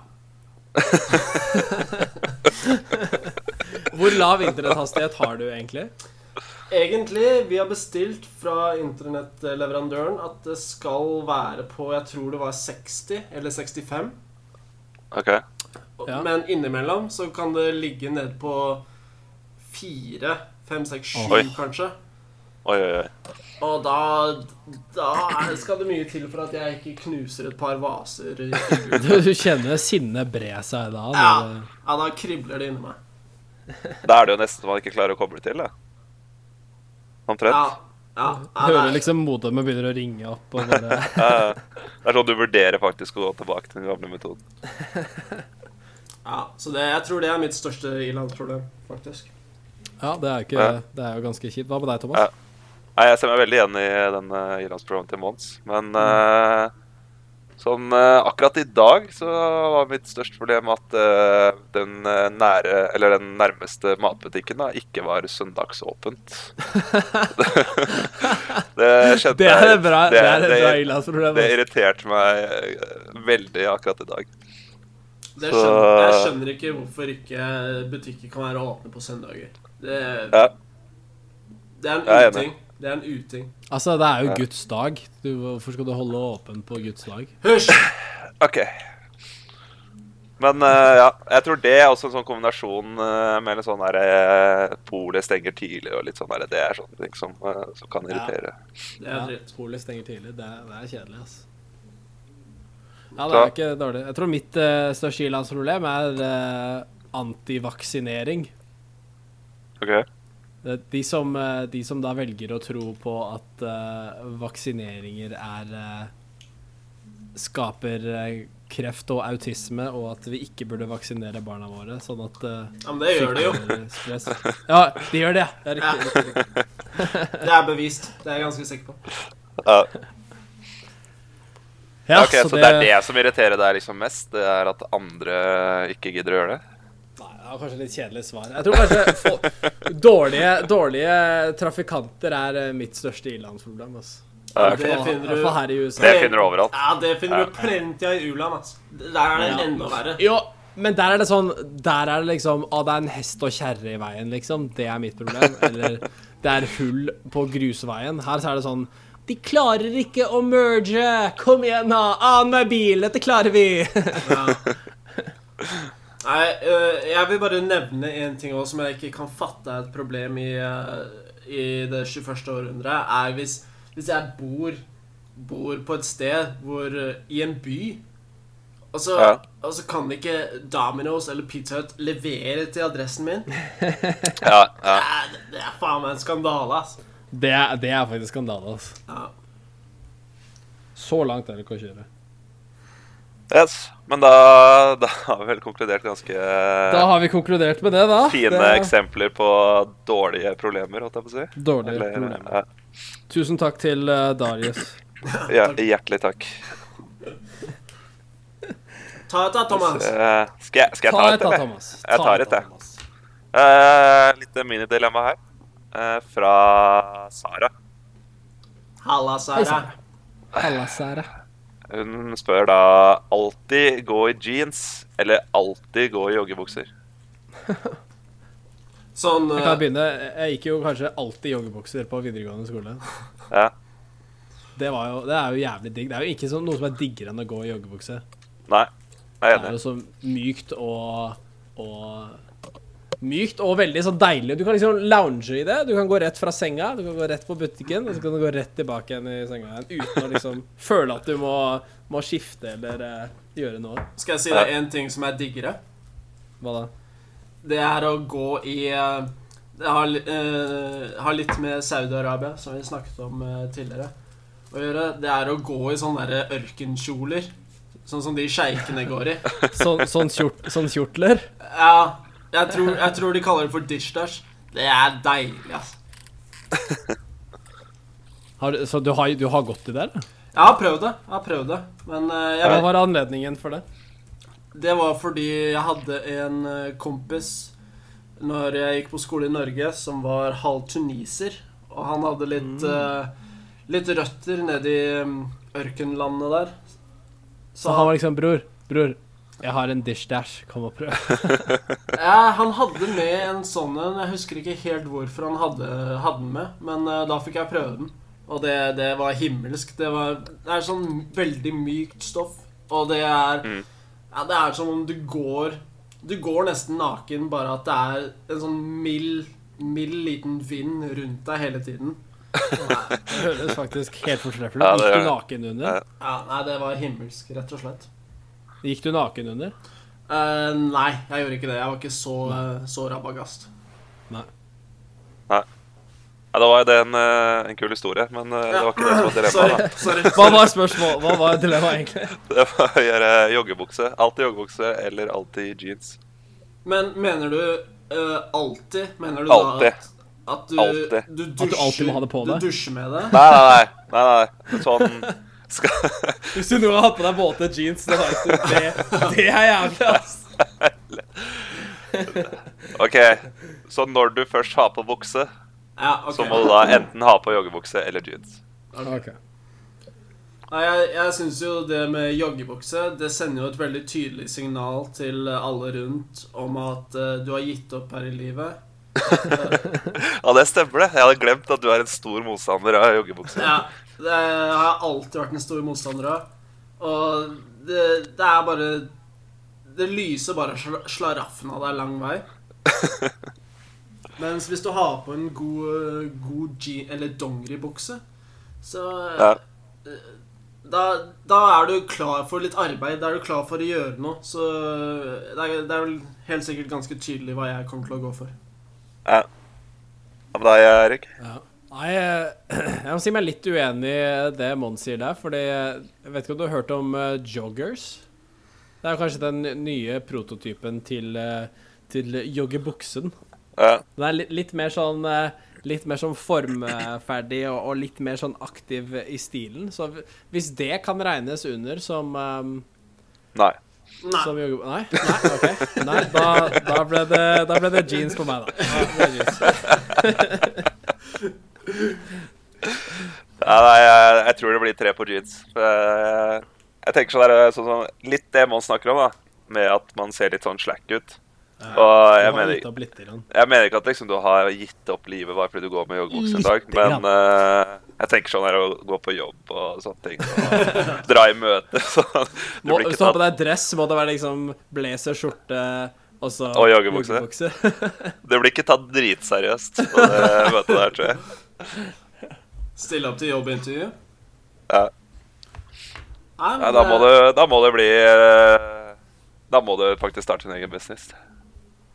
Hvor lav internetthastighet har du egentlig?
Egentlig, vi har bestilt fra internettleverandøren at det skal være på Jeg tror det var 60 eller 65.
OK.
Og-
Ja.
Men innimellom så kan det ligge ned på 4, 5, 6, 7
Oi.
kanskje.
Oi, oi, oi.
Og da, da er- skal det mye til for at jeg ikke knuser et par vaser.
[laughs]
i gulvet.
Du, kjenner sinnet bre seg da. når
Ja.
det-
Ja, da kribler det inni meg.
Da er det jo nesten man ikke klarer å koble til, da. Omtrent.
Ja, ja, ja,
Hører
det er-
liksom modemet begynner å ringe opp og bare
Eh, det er sånn du vurderer faktisk å gå tilbake til den gamle metoden.
ja, så det, jeg tror det er mitt største ilandsproblem, faktisk.
Ja, det
Ja.
er jo, ikke, det er jo ganske kjipt. Hva med deg,
Ja.
Thomas?
Nei, Jeg ser meg veldig igjen i den uh, Irlandsprogrammet til Mons, men eh, sånn eh, akkurat i dag så var mitt største problem at eh, den eh, nære, eller den nærmeste matbutikken da, ikke var søndagsåpent. [laughs] det skjedde
Det er et bra, det er et
det-
bra ilandsproblem.
det
altså.
irriterte meg eh, veldig akkurat i dag.
Det
Så-
skjønner, jeg skjønner ikke hvorfor ikke butikker kan være åpne på søndager. Det,
Ja,
det er
jeg er
en
enig.
uting. Det er en uting.
Altså, det er jo
Ja.
Guds dag. Du, hvorfor skal du holde åpen på Guds dag?
Hysj!
OK. Men eh, ja, jeg tror det er også en sånn kombinasjon eh, med litt sånn der eh, Polet stenger tidlig og litt sånn der, det er sånne ting som, eh, som kan
Ja.
irritere.
Det er
Ja,
dritt.
Polet stenger tidlig. Det, er- det er kjedelig, altså. Ja, det er ikke dårlig. Jeg tror mitt eh, største ilandsproblem er eh, antivaksinering.
Ok.
Det- De som, eh, de som da velger å tro på at eh, vaksineringer er eh, Skaper eh, kreft og autisme, og at vi ikke burde vaksinere barna våre. Sånn at eh,
Ja, men det gjør det jo.
sykdommer spres. Ja, de gjør det. Det er
[laughs]
riktig. riktig, riktig.
Det er bevist. Det er jeg ganske sikker på.
Ja,
Ja,
ok, så, det er det som irriterer deg liksom mest? Det er at andre ikke gidder å gjøre det?
Nei, det var kanskje litt kjedelig svar. Jeg tror kanskje få, dårlige, dårlige trafikanter er eh, mitt største ilandsproblem. Altså.
Ja, ok.
Det finner du-
I hvert fall her i USA.
Det finner du overalt.
Ja, det finner
Ja.
du plenty av i u-land, altså. Der er det enda verre.
Jo, men der er det sånn Der er det liksom Å, det er en hest og kjerre i veien, liksom. Det er mitt problem. Eller det er hull på grusveien. Her så er det sånn De klarer ikke å merge! Kom igjen, da! Annenhver bil! Dette klarer vi! [laughs]
Ja. [laughs] Nei, øh, jeg vil bare nevne en ting også som jeg ikke kan fatte er et problem i, øh, i det 21. århundret, er hvis, hvis jeg bor, bor på et sted hvor øh, I en by og så,
Ja.
og så kan ikke Domino's eller Pizza Hut levere til adressen min. Det
Ja, ja.
er, det er faen meg en skandale, ass.
Det er, det er faktisk skandale, altså.
Ja.
Så langt er det ikke å kjøre.
Yes. Men da, da har vi vel konkludert ganske
Da har vi konkludert med det, da.
fine
det er
eksempler på dårlige problemer, holdt jeg på å si.
dårlige
Eller,
problemer. Tusen takk til eh, Darius.
ja, ja, hjertelig takk.
Ta et da, Thomas.
Eh, skal, jeg, skal jeg ta,
Altså, Ta et
et,
da,
eller?
Thomas.
Jeg tar
et,
et,
da,
jeg.
Thomas.
Eh, litt minidilemma her. Eh, fra Sara.
Halla,
Hei,
Sara.
Sara. Halla, Sara.
Hun spør da alltid gå i jeans eller alltid gå i joggebukser.
Sånn
Jeg kan
eh,
begynne. Jeg gikk jo kanskje alltid i joggebukser på videregående skole.
Ja.
Det, var jo, det er jo jævlig digg. Det er jo ikke sånn, noe som er diggere enn å gå i joggebukse.
Nei, jeg er
Det er
enig.
jo så mykt og, og Mykt og veldig så deilig. Du kan liksom lounge i det. Du kan gå rett fra senga, du kan gå rett på butikken, og så kan du gå rett tilbake igjen i senga igjen uten å liksom [laughs] føle at du må, må skifte eller eh, gjøre noe.
Skal jeg si deg en ting som er diggere?
Hva da?
Det er å gå i eh, Det har, li- eh, har litt med Saudi-Arabia, som vi snakket om eh, tidligere, å gjøre. Det er å gå i sånne der ørkenkjoler. Sånn som de sjeikene går i.
Sånn, sånn, kjort, sånn kjortler?
Ja, jeg tror, jeg tror de kaller det for dishdash. Det er deilig, ass.
Har, du- så du har, du har gått i det? eller?
Jeg har prøvd det, jeg har prøvd det. Men eh, jeg
Hva
vet,
var anledningen for det?
det var fordi jeg hadde en eh, kompis når jeg gikk på skole i Norge, som var halv tuniser. Og han hadde litt,
Mm.
eh, litt røtter nedi um, ørkenlandet der.
Så han var liksom Bror, bror, jeg har en dish dash. Kom og prøv.
Ja, han hadde med en sånn en. Jeg husker ikke helt hvorfor han hadde, hadde den med, men eh, da fikk jeg prøve den. Og det, det var himmelsk. Det, var, det er sånn veldig mykt stoff. Og det er
Mm.
ja, Det er som om du går Du går nesten naken, bare at det er en sånn mild, mild liten vind rundt deg hele tiden.
Det høres faktisk helt fortreffelig
Ja,
ut.
det
Gikk du
gjør
naken under?
Ja, nei, det var himmelsk, rett og slett.
Gikk du naken under?
Eh, nei, jeg gjorde ikke det. Jeg var ikke så, eh, så rabagast.
Ja, det var jo det en, eh, en kul historie, men eh, det var ikke det som
[laughs]
var dilemmaet. da. [laughs]
Sorry. sorry.
Hva var spørsmålet? Hva var dilemmaet, egentlig?
Det var å gjøre joggebukse. Alltid joggebukse eller alltid jeans.
Men mener du eh, alltid Mener du
Alltid.
da at, at, du,
Alltid.
du
du alltid må ha det på deg?
Du dusjer med det?
Nei, nei, nei. nei, nei. Sånn skal [laughs]
Hvis du nå har hatt på deg våte jeans, det, det er jævlig, ass.
OK. Så når du først har på bukse,
Ja, ok.
så må du da enten ha på joggebukse eller jeans.
Nei, jeg, jeg syns jo det med joggebukse Det sender jo et veldig tydelig signal til alle rundt om at eh, du har gitt opp her i livet.
Ja, det stemmer det. Jeg hadde glemt at du er en stor motstander av joggebukse.
Ja, det har jeg alltid vært en stor motstander av. Og det, det er bare Det lyser bare sla- slaraffen av deg lang
[laughs]
vei. Mens hvis du har på en god, god je- eller dongeribukse, så
Ja.
da, da er du klar for litt arbeid. Da er du klar for å gjøre noe. Så det er, det er vel helt sikkert ganske tydelig hva jeg kommer til å gå for.
Hva med deg, Erik?
Nei, eh, jeg må si meg litt uenig i det Mons sier der, fordi jeg vet ikke om du har hørt om eh, joggers? Det er kanskje den nye prototypen til, eh, til joggebuksen.
Ja.
Den er litt, litt mer sånn eh, Litt mer sånn formferdig og, og litt mer sånn aktiv i stilen. Så hvis det kan regnes under som eh,
Nei.
Nei.
Som jogge... Nei? Nei, ok. Nei, da, da, ble det, da ble det jeans på meg, da. da ble det jeans.
Ja, nei, jeg, jeg tror det blir tre på jeans. Eh, Jeg tenker sånn der, sånn, sånn Litt det man snakker om, da. Med at man ser litt sånn slack ut. Og jeg mener,
Ut av blitt i den.
jeg mener ikke at liksom, du har gitt opp livet bare fordi du går med joggebukse en dag,
Lite
men eh, jeg tenker sånn der å gå på jobb og sånne ting.
[laughs]
Og dra i møte. [laughs] Sånn. Du
Må,
blir
hvis
ikke
du har på
tatt
deg dress, må det være liksom blazer, skjorte og så
Og joggebukse. Du blir ikke tatt dritseriøst på det møtet der, tror jeg.
Stille opp til jobbintervju.
Ja.
Nei,
Nei, da må
eh,
det, da må det bli eh, Da må du faktisk starte din egen business.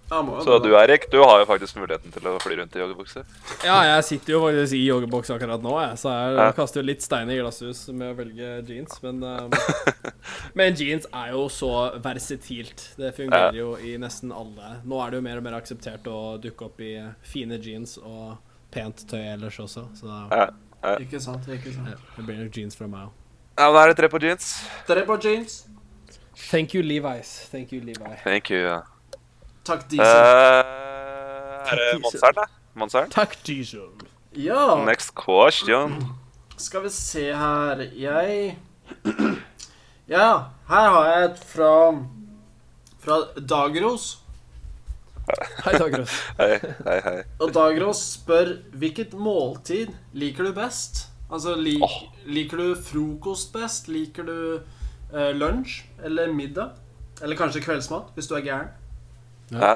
da må jo
Så
det,
du
da.
Erik, du har jo faktisk muligheten til å fly rundt i joggebukse.
Ja, jeg sitter jo faktisk i joggebukse akkurat nå, jeg, så jeg
Ja.
kaster jo litt stein i glasshus med å velge jeans,
[laughs]
men um, Men jeans er jo så versetilt. Det fungerer jo i nesten alle. Nå er det jo mer og mer akseptert å dukke opp i fine jeans og pent tøy ellers også, så da
Ja,
Ikke sant, ikke sant.
Ja, Det blir nok jeans fra meg òg.
ja men da er det tre på jeans.
Dere på jeans.
Thank you, Levi's. Thank you, Levi.
Thank you. ja.
Takk,
Eh,
Diesel.
er det Monsern, da? Monsern?
Takk, Diesel.
ja.
Next question.
Skal vi se her Jeg [clears throat] Ja, her har jeg et fra Fra Dagros.
Hei, Dagros.
[laughs] Hei, hei, hei.
Og Dagros spør hvilket måltid liker du best? Altså, lik,
Åh.
liker du frokost best? Liker du eh, lunsj? Eller middag? Eller kanskje kveldsmat, hvis du er gæren?
Ja.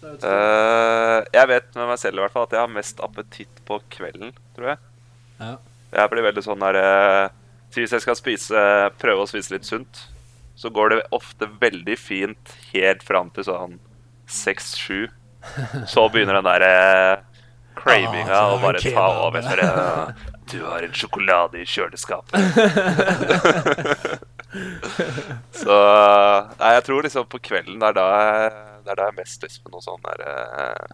Så jeg vet ikke.
Eh, jeg vet med meg selv i hvert fall at jeg har mest appetitt på kvelden, tror jeg.
Ja.
Jeg blir veldig sånn der eh, så Hvis jeg skal spise, prøve å spise litt sunt, så går det ofte veldig fint helt fram til sånn seks-sju. Så begynner den der eh, cravinga
Ah, så
å
er
bare
det
ta
kebab.
over. For, eh, du har en sjokolade i kjøleskapet. så Nei, jeg tror liksom på kvelden det er da jeg, det er da jeg har mest lyst på noe sånn der eh,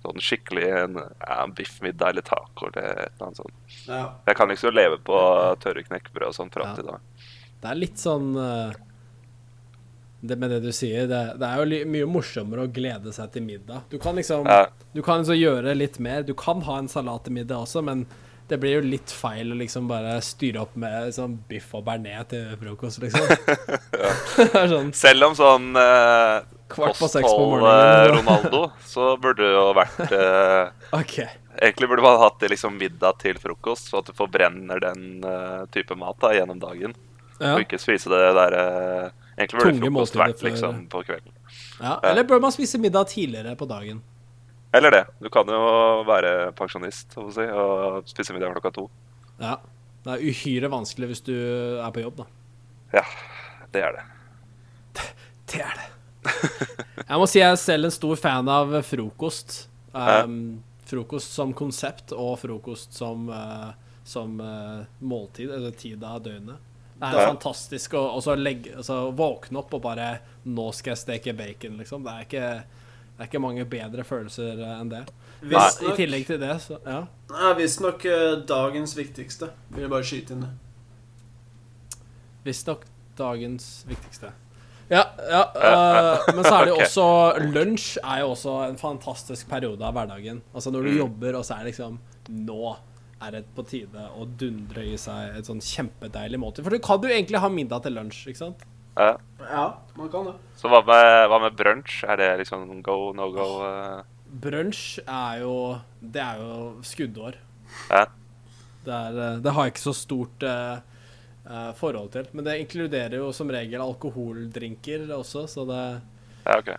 Sånn skikkelig en, ja, en biffmiddag eller taco eller et eller annet sånt.
Ja.
Jeg kan liksom leve på tørre knekkebrød og sånn fram
Ja.
til da.
Det er litt sånn eh, det med det du sier, det, det er jo li mye morsommere å glede seg til middag. Du kan liksom
Ja.
Du kan liksom gjøre litt mer. Du kan ha en salat til middag også, men det blir jo litt feil å liksom bare styre opp med sånn biff og bearnés til frokost, liksom. [laughs] det er sånn
Selv om sånn eh,
Kvart på
post
seks på
tolv,
morgenen.
eh, Ronaldo, så burde det jo
[laughs]
vært eh,
OK.
Egentlig burde man hatt det liksom middag til frokost, så at du forbrenner den eh, type mat da gjennom dagen.
Ja.
Og ikke spise det der eh, Egentlig burde
Tunge
frokost
måltider
vært
før-
liksom på kvelden.
ja. Eller bør man spise middag tidligere på dagen?
Eller det. Du kan jo være pensjonist så å si, og spise middag klokka to.
Ja. Det er uhyre vanskelig hvis du er på jobb, da.
Ja, det er det.
Det er det. [laughs] Jeg må si jeg er selv en stor fan av frokost. Um, frokost som konsept og frokost som, eh, som eh, måltid, eller tid av døgnet. Det er
Ja.
fantastisk å og så legge, altså, våkne opp og bare Nå skal jeg steke bacon, liksom. Det er ikke, det er ikke mange bedre følelser eh, enn det.
Nei.
I tillegg
Visstnok
til det, så ja.
er visstnok eh, dagens viktigste. Vil jeg bare skyte inn det.
Visstnok dagens viktigste. Ja, ja
Ja,
øh, men så er det jo
[laughs] ok.
også Lunsj er jo også en fantastisk periode av hverdagen. Altså
Mm.
når du jobber, og så er det liksom Nå er det på tide å dundre i seg et sånn kjempedeilig måltid. For du kan jo egentlig ha middag til lunsj, ikke sant?
Ja.
Ja, man kan det.
Så hva med, hva med brunsj? Er det liksom go, no go? eh?
Brunsj er jo Det er jo skuddår.
Ja.
Det, er, eh, det har jeg ikke så stort eh, eh, forhold til. Men det inkluderer jo som regel alkoholdrinker også, så det
ja, ok.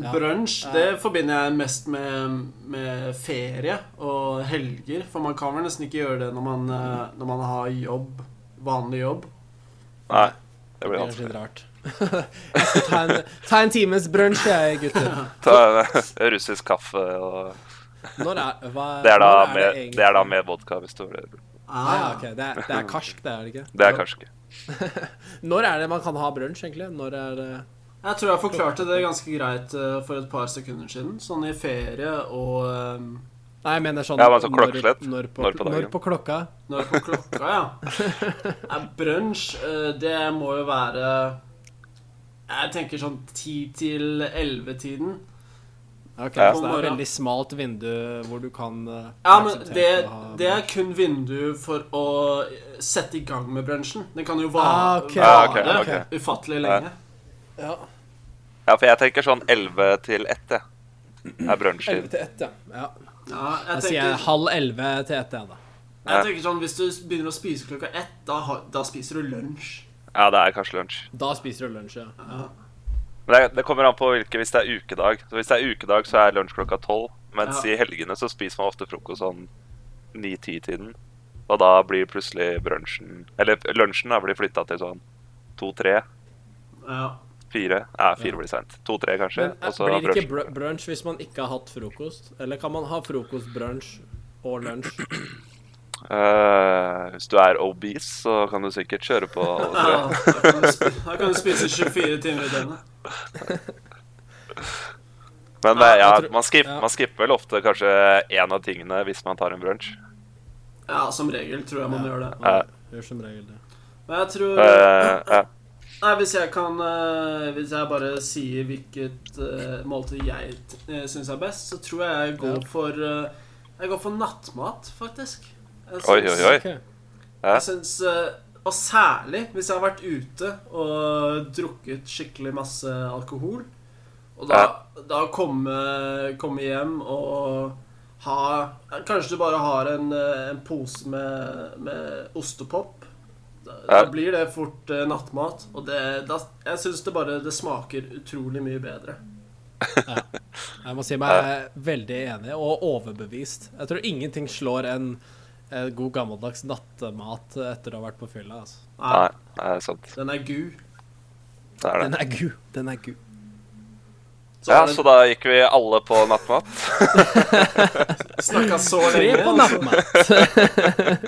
Ja.
Brunsj det forbinder jeg mest med, med ferie og helger. For man kan vel nesten ikke gjøre det når man, eh, når man har jobb, vanlig jobb.
Nei, det blir
Det er
vanskelig.
litt rart. [laughs] jeg skal ta en, ta en times brunsj, jeg, gutter.
Ta eh, russisk kaffe og
Når er, hva,
Det er da,
når
med,
egentlig?
det er da med vodka, hvis du vil.
Ah, ja, ok. det, er, det er karsk, det er det ikke?
Det er kanskje ikke
Når er det man kan ha brunsj, egentlig? Når er det
Jeg tror jeg forklarte det ganske greit eh, for et par sekunder siden. Sånn i ferie og eh,
Nei, jeg mener sånn
Ja, men sånn
når-
klokkeslett.
Når, på-
Når på dagen.
når på klokka?
når på klokka,
[laughs]
ja. Eh, Brunsj, eh, det må jo være Jeg tenker sånn ti til elleve-tiden.
Ok,
Ja.
Så det er et veldig smalt vindu hvor du kan eh,
Ja, men
akseptere
det,
å ha-
det er kun vindu for å eh, sette i gang med brunsjen. Den kan jo vare,
Ah, ok.
Ah, ok,
vare
ok.
ufattelig lenge.
ja,
Ja, for jeg tenker sånn 11 til 1, jeg. Er brunsjen.
11 til 1, ja. ja.
Ja, jeg
Da sier jeg
tenker,
halv 11 til 1, jeg, da.
jeg tenker sånn, Hvis du begynner å spise klokka ett, da, har- da spiser du lunsj.
Ja, det er kanskje lunsj.
Da spiser du lunsj, ja.
Men det, det kommer an på hvilke, hvis det er ukedag. Så hvis det er ukedag, så er lunsj klokka 12. Mens
Ja.
i helgene så spiser man ofte frokost sånn 9-10-tiden. Og da blir plutselig brunsjen Eller lunsjen da blir flytta til sånn 2-3.
Ja.
4. Ja, 4 blir seint. 2-3 kanskje.
Men
Og
eh,
så
blir det ikke
brunsj.
br- brunsj hvis man ikke har hatt frokost? Eller kan man ha frokost, brunsj og lunsj?
Eh, hvis du er obese, så kan du sikkert kjøre på alle tre.
Ja, da, kan du spi- da kan du spise 24 timer i døgnet.
Men
Ja,
eh, ja,
jeg tror-
man, skip,
ja.
man skipper vel ofte kanskje én av tingene hvis man tar en brunsj.
Ja, som regel tror jeg man gjør det.
Ja.
Gjør som regel det.
Men jeg tror
Eh, ja.
Nei, hvis jeg kan eh, Hvis jeg bare sier hvilket eh, måltid jeg uh, syns er best, så tror jeg jeg går for eh, Jeg går for nattmat, faktisk. Jeg
Oi,
syns-
oi, oi.
Ok.
Ja.
Jeg syns eh, Og særlig hvis jeg har vært ute og drukket skikkelig masse alkohol. Og da, da komme, komme hjem og ha Kanskje du bare har en, eh, en pose med, med ostepop. Da, da
Ja.
blir det fort eh, nattmat. Og det, da, jeg syns det bare det smaker utrolig mye bedre.
Jeg må si meg
Eh.
er veldig enig og overbevist. Jeg tror ingenting slår en, en god gammeldags nattemat etter å ha vært på fylla. Altså.
Nei,
Nei, det er sant.
den er gu.
Det er det.
Den er gud. Den er gud.
Så
Ja,
har
så da gikk vi alle på nattmat.
den snakka så
Tre
lenge.
på nattmat.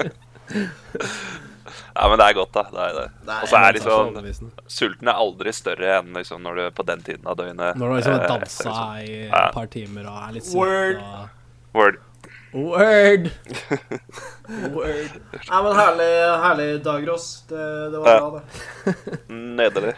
Ja, men det er godt, da. Det er [laughs] det.
Nei,
Og så
men
er
det er så
liksom
Sånn overbevisende.
Sulten er aldri større enn liksom når du på den tiden av døgnet
Når du liksom har
eh,
dansa
liksom.
i et
Ja.
par timer og er litt
Word.
sulten og
Word.
Word!
[laughs]
Word.
Nei, men herlig, herlig dag, Ross. Det, det var
Ja.
bra, det.
Nydelig.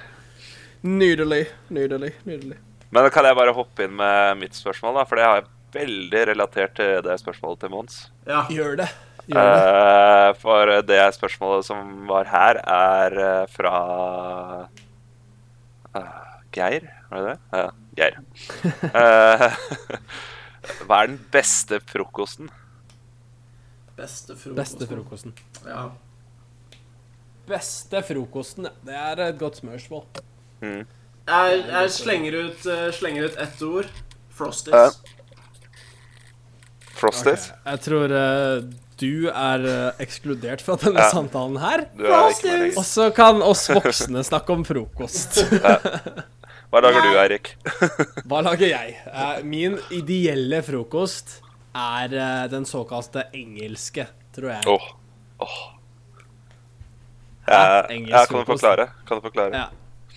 Nydelig. Nydelig. Nydelig.
Men kan jeg bare hoppe inn med mitt spørsmål, da? For det har jeg veldig relatert til det spørsmålet til Mons.
Ja.
Gjør det. Gjør det.
Eh, for det spørsmålet som var her, er eh, fra eh, Geir, var det det? Ja, Geir. Eh, [laughs] hva er den beste frokosten?
Beste frokosten.
Beste frokosten.
Ja.
Beste frokosten, ja. Det er et godt smørsmål.
Mm.
Jeg, jeg slenger, ut, eh, slenger ut ett ord. Frosties.
Ja. Frosties?
Ok, Jeg tror eh, du er eh, ekskludert fra denne
Ja.
samtalen her.
Du er ikke med
Og
lenger.
så kan oss voksne snakke om frokost.
[laughs] Hva lager du, Eirik?
Hva lager jeg? Eh, min ideelle frokost er eh, den såkalte engelske, tror jeg.
Åh, åh. Jeg,
engelsk
jeg kan du
frokost.
forklare? Kan du forklare?
Ja.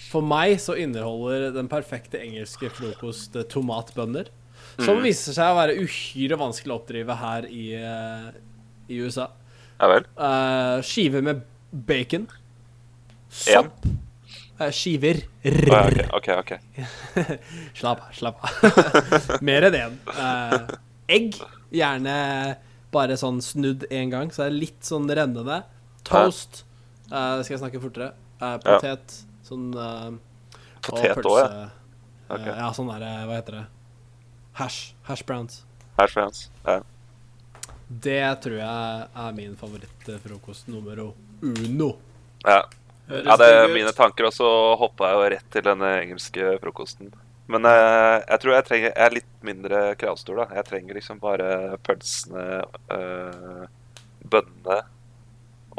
For meg så inneholder den perfekte engelske frokost eh, tomatbønner. Som viser seg å være uhyre vanskelig å oppdrive her i, eh, i USA.
Ja vel?
Eh, skiver med bacon.
En?
Sopp. Eh, skiver.
Å, ja, ok, Ah, ok, ok.
Slapp av, slapp av. [laughs] Mer enn én. Eh, egg. Gjerne bare sånn snudd én gang, så det er litt sånn rennende. Toast. Eh, skal jeg snakke fortere? Eh,
Ja.
potet. Sånn eh,
Potet
og
også, ja.
pølse.
Ok.
Eh, ja, sånn derre Hva heter det? Hash. Hash browns.
Her står Jens. Ja.
Det tror jeg er min favorittfrokost nummer uno.
Ja.
Høres
Ja, det er
digg ut.
mine tanker, og så hoppa jeg jo rett til denne engelske frokosten. Men eh, jeg tror jeg trenger Jeg er litt mindre kravstor, da. Jeg trenger liksom bare pølsene, eh, bønnene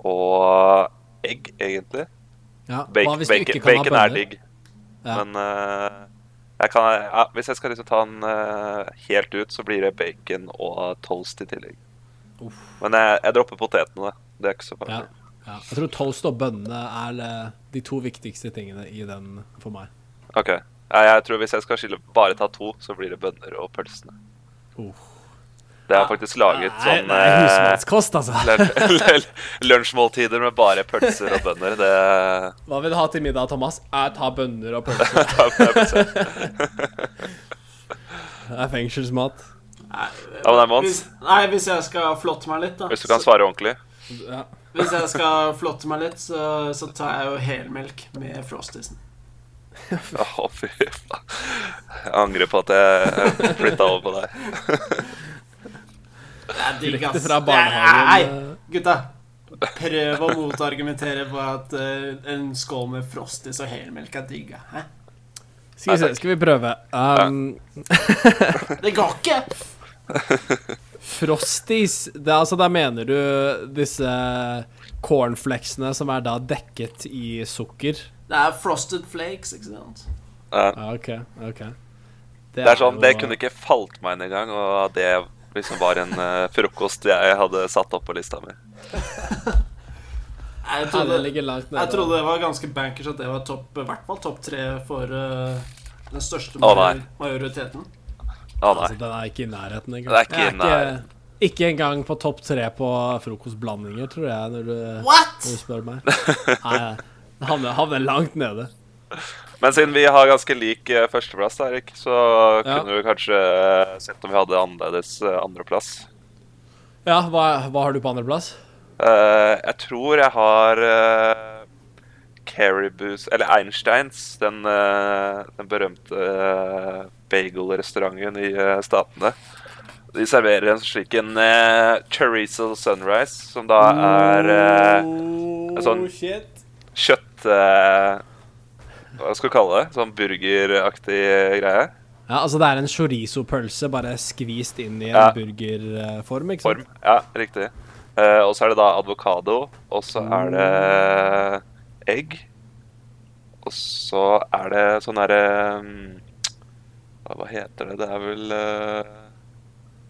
og egg, egentlig.
Ja.
Bacon,
Hva hvis du
bacon,
ikke kan
bacon
ha
er
bønner?
digg,
Ja.
men eh, jeg kan, ja, hvis jeg skal liksom ta den eh, helt ut, så blir det bacon og toast i tillegg. Men jeg, jeg dropper potetene. da. Det er ikke så farlig.
Ja. ja. Jeg tror toast og bønne er eh, de to viktigste tingene i den for meg.
Ok. Ja, jeg tror Hvis jeg skal skille bare ta to, så blir det bønner og pølsene.
Oh.
Det har jeg faktisk laget
Nei,
sånn
det
eh,
er husmannskost,
[laughs]
altså.
eh, lunsjmåltider med bare pølser og bønner. Det
Hva vil du ha til middag, Thomas? Jeg tar bønner
[laughs]
og pølser. Det er fengselsmat.
Nei,
Ja, men det er Mons.
hvis, nei, hvis jeg skal flotte meg litt, da.
Hvis du kan svare ordentlig.
Ja.
Så, hvis jeg skal flotte meg litt, så, så tar jeg jo helmelk med Frostisen.
Å, fy faen. Jeg angrer på at jeg flytta over på deg.
Det er digg,
Direkte
ass.
fra
Det er- Nei,
barnehagen. eh.
gutta. Prøv å motargumentere på at eh, en skål med Frostis og helmelk er digg. ja. Hæ?
eh, Skal vi se, skal vi prøve. Um,
Det går ikke!
frosties, det, er altså da mener du disse cornflakesene som er da dekket i sukker?
Det er Frosted Flakes, ikke sant?
Ja.
Ja, OK. ok.
Det er sånn, det kunne ikke falt meg inn engang, og det liksom var en eh, frokost jeg hadde satt opp på lista mi.
Jeg
Det
trodde,
ligger langt nede.
Jeg trodde det var ganske bankers at det var topp, i hvert fall topp tre for eh, den største
Å, nei.
majoriteten.
Å
Altså,
nei.
den er ikke i nærheten engang.
Den er ikke
Jeg
i nærheten.
Ikke, ikke engang på topp tre på frokostblandinger, tror jeg, når du,
What?!
når du spør meg. Nei, den havner, havner langt nede.
Men siden vi har ganske lik eh, førsteplass, da, Erik, så
Ja.
kunne du kanskje eh, sett om vi hadde annerledes eh, andreplass.
Ja, hva, hva har du på andreplass?
Eh, jeg tror jeg har eh, Caribous Eller Einsteins, den, eh, den berømte eh, bagelrestauranten i eh, Statene. De serverer en slik en eh, chorizo sunrise, som da er eh, en sånn
Oh, shit.
kjøtt... eh, hva skal vi kalle det? Sånn burgeraktig eh, greie.
Ja, altså det er en chorizo-pølse bare skvist inn i en
Ja.
burgerform, ikke sant?
Form. Ja, riktig. Eh, og så er det da avokado, og så er det egg. Og så er det sånn derre mm, hva- Hva heter det? Det er vel eh,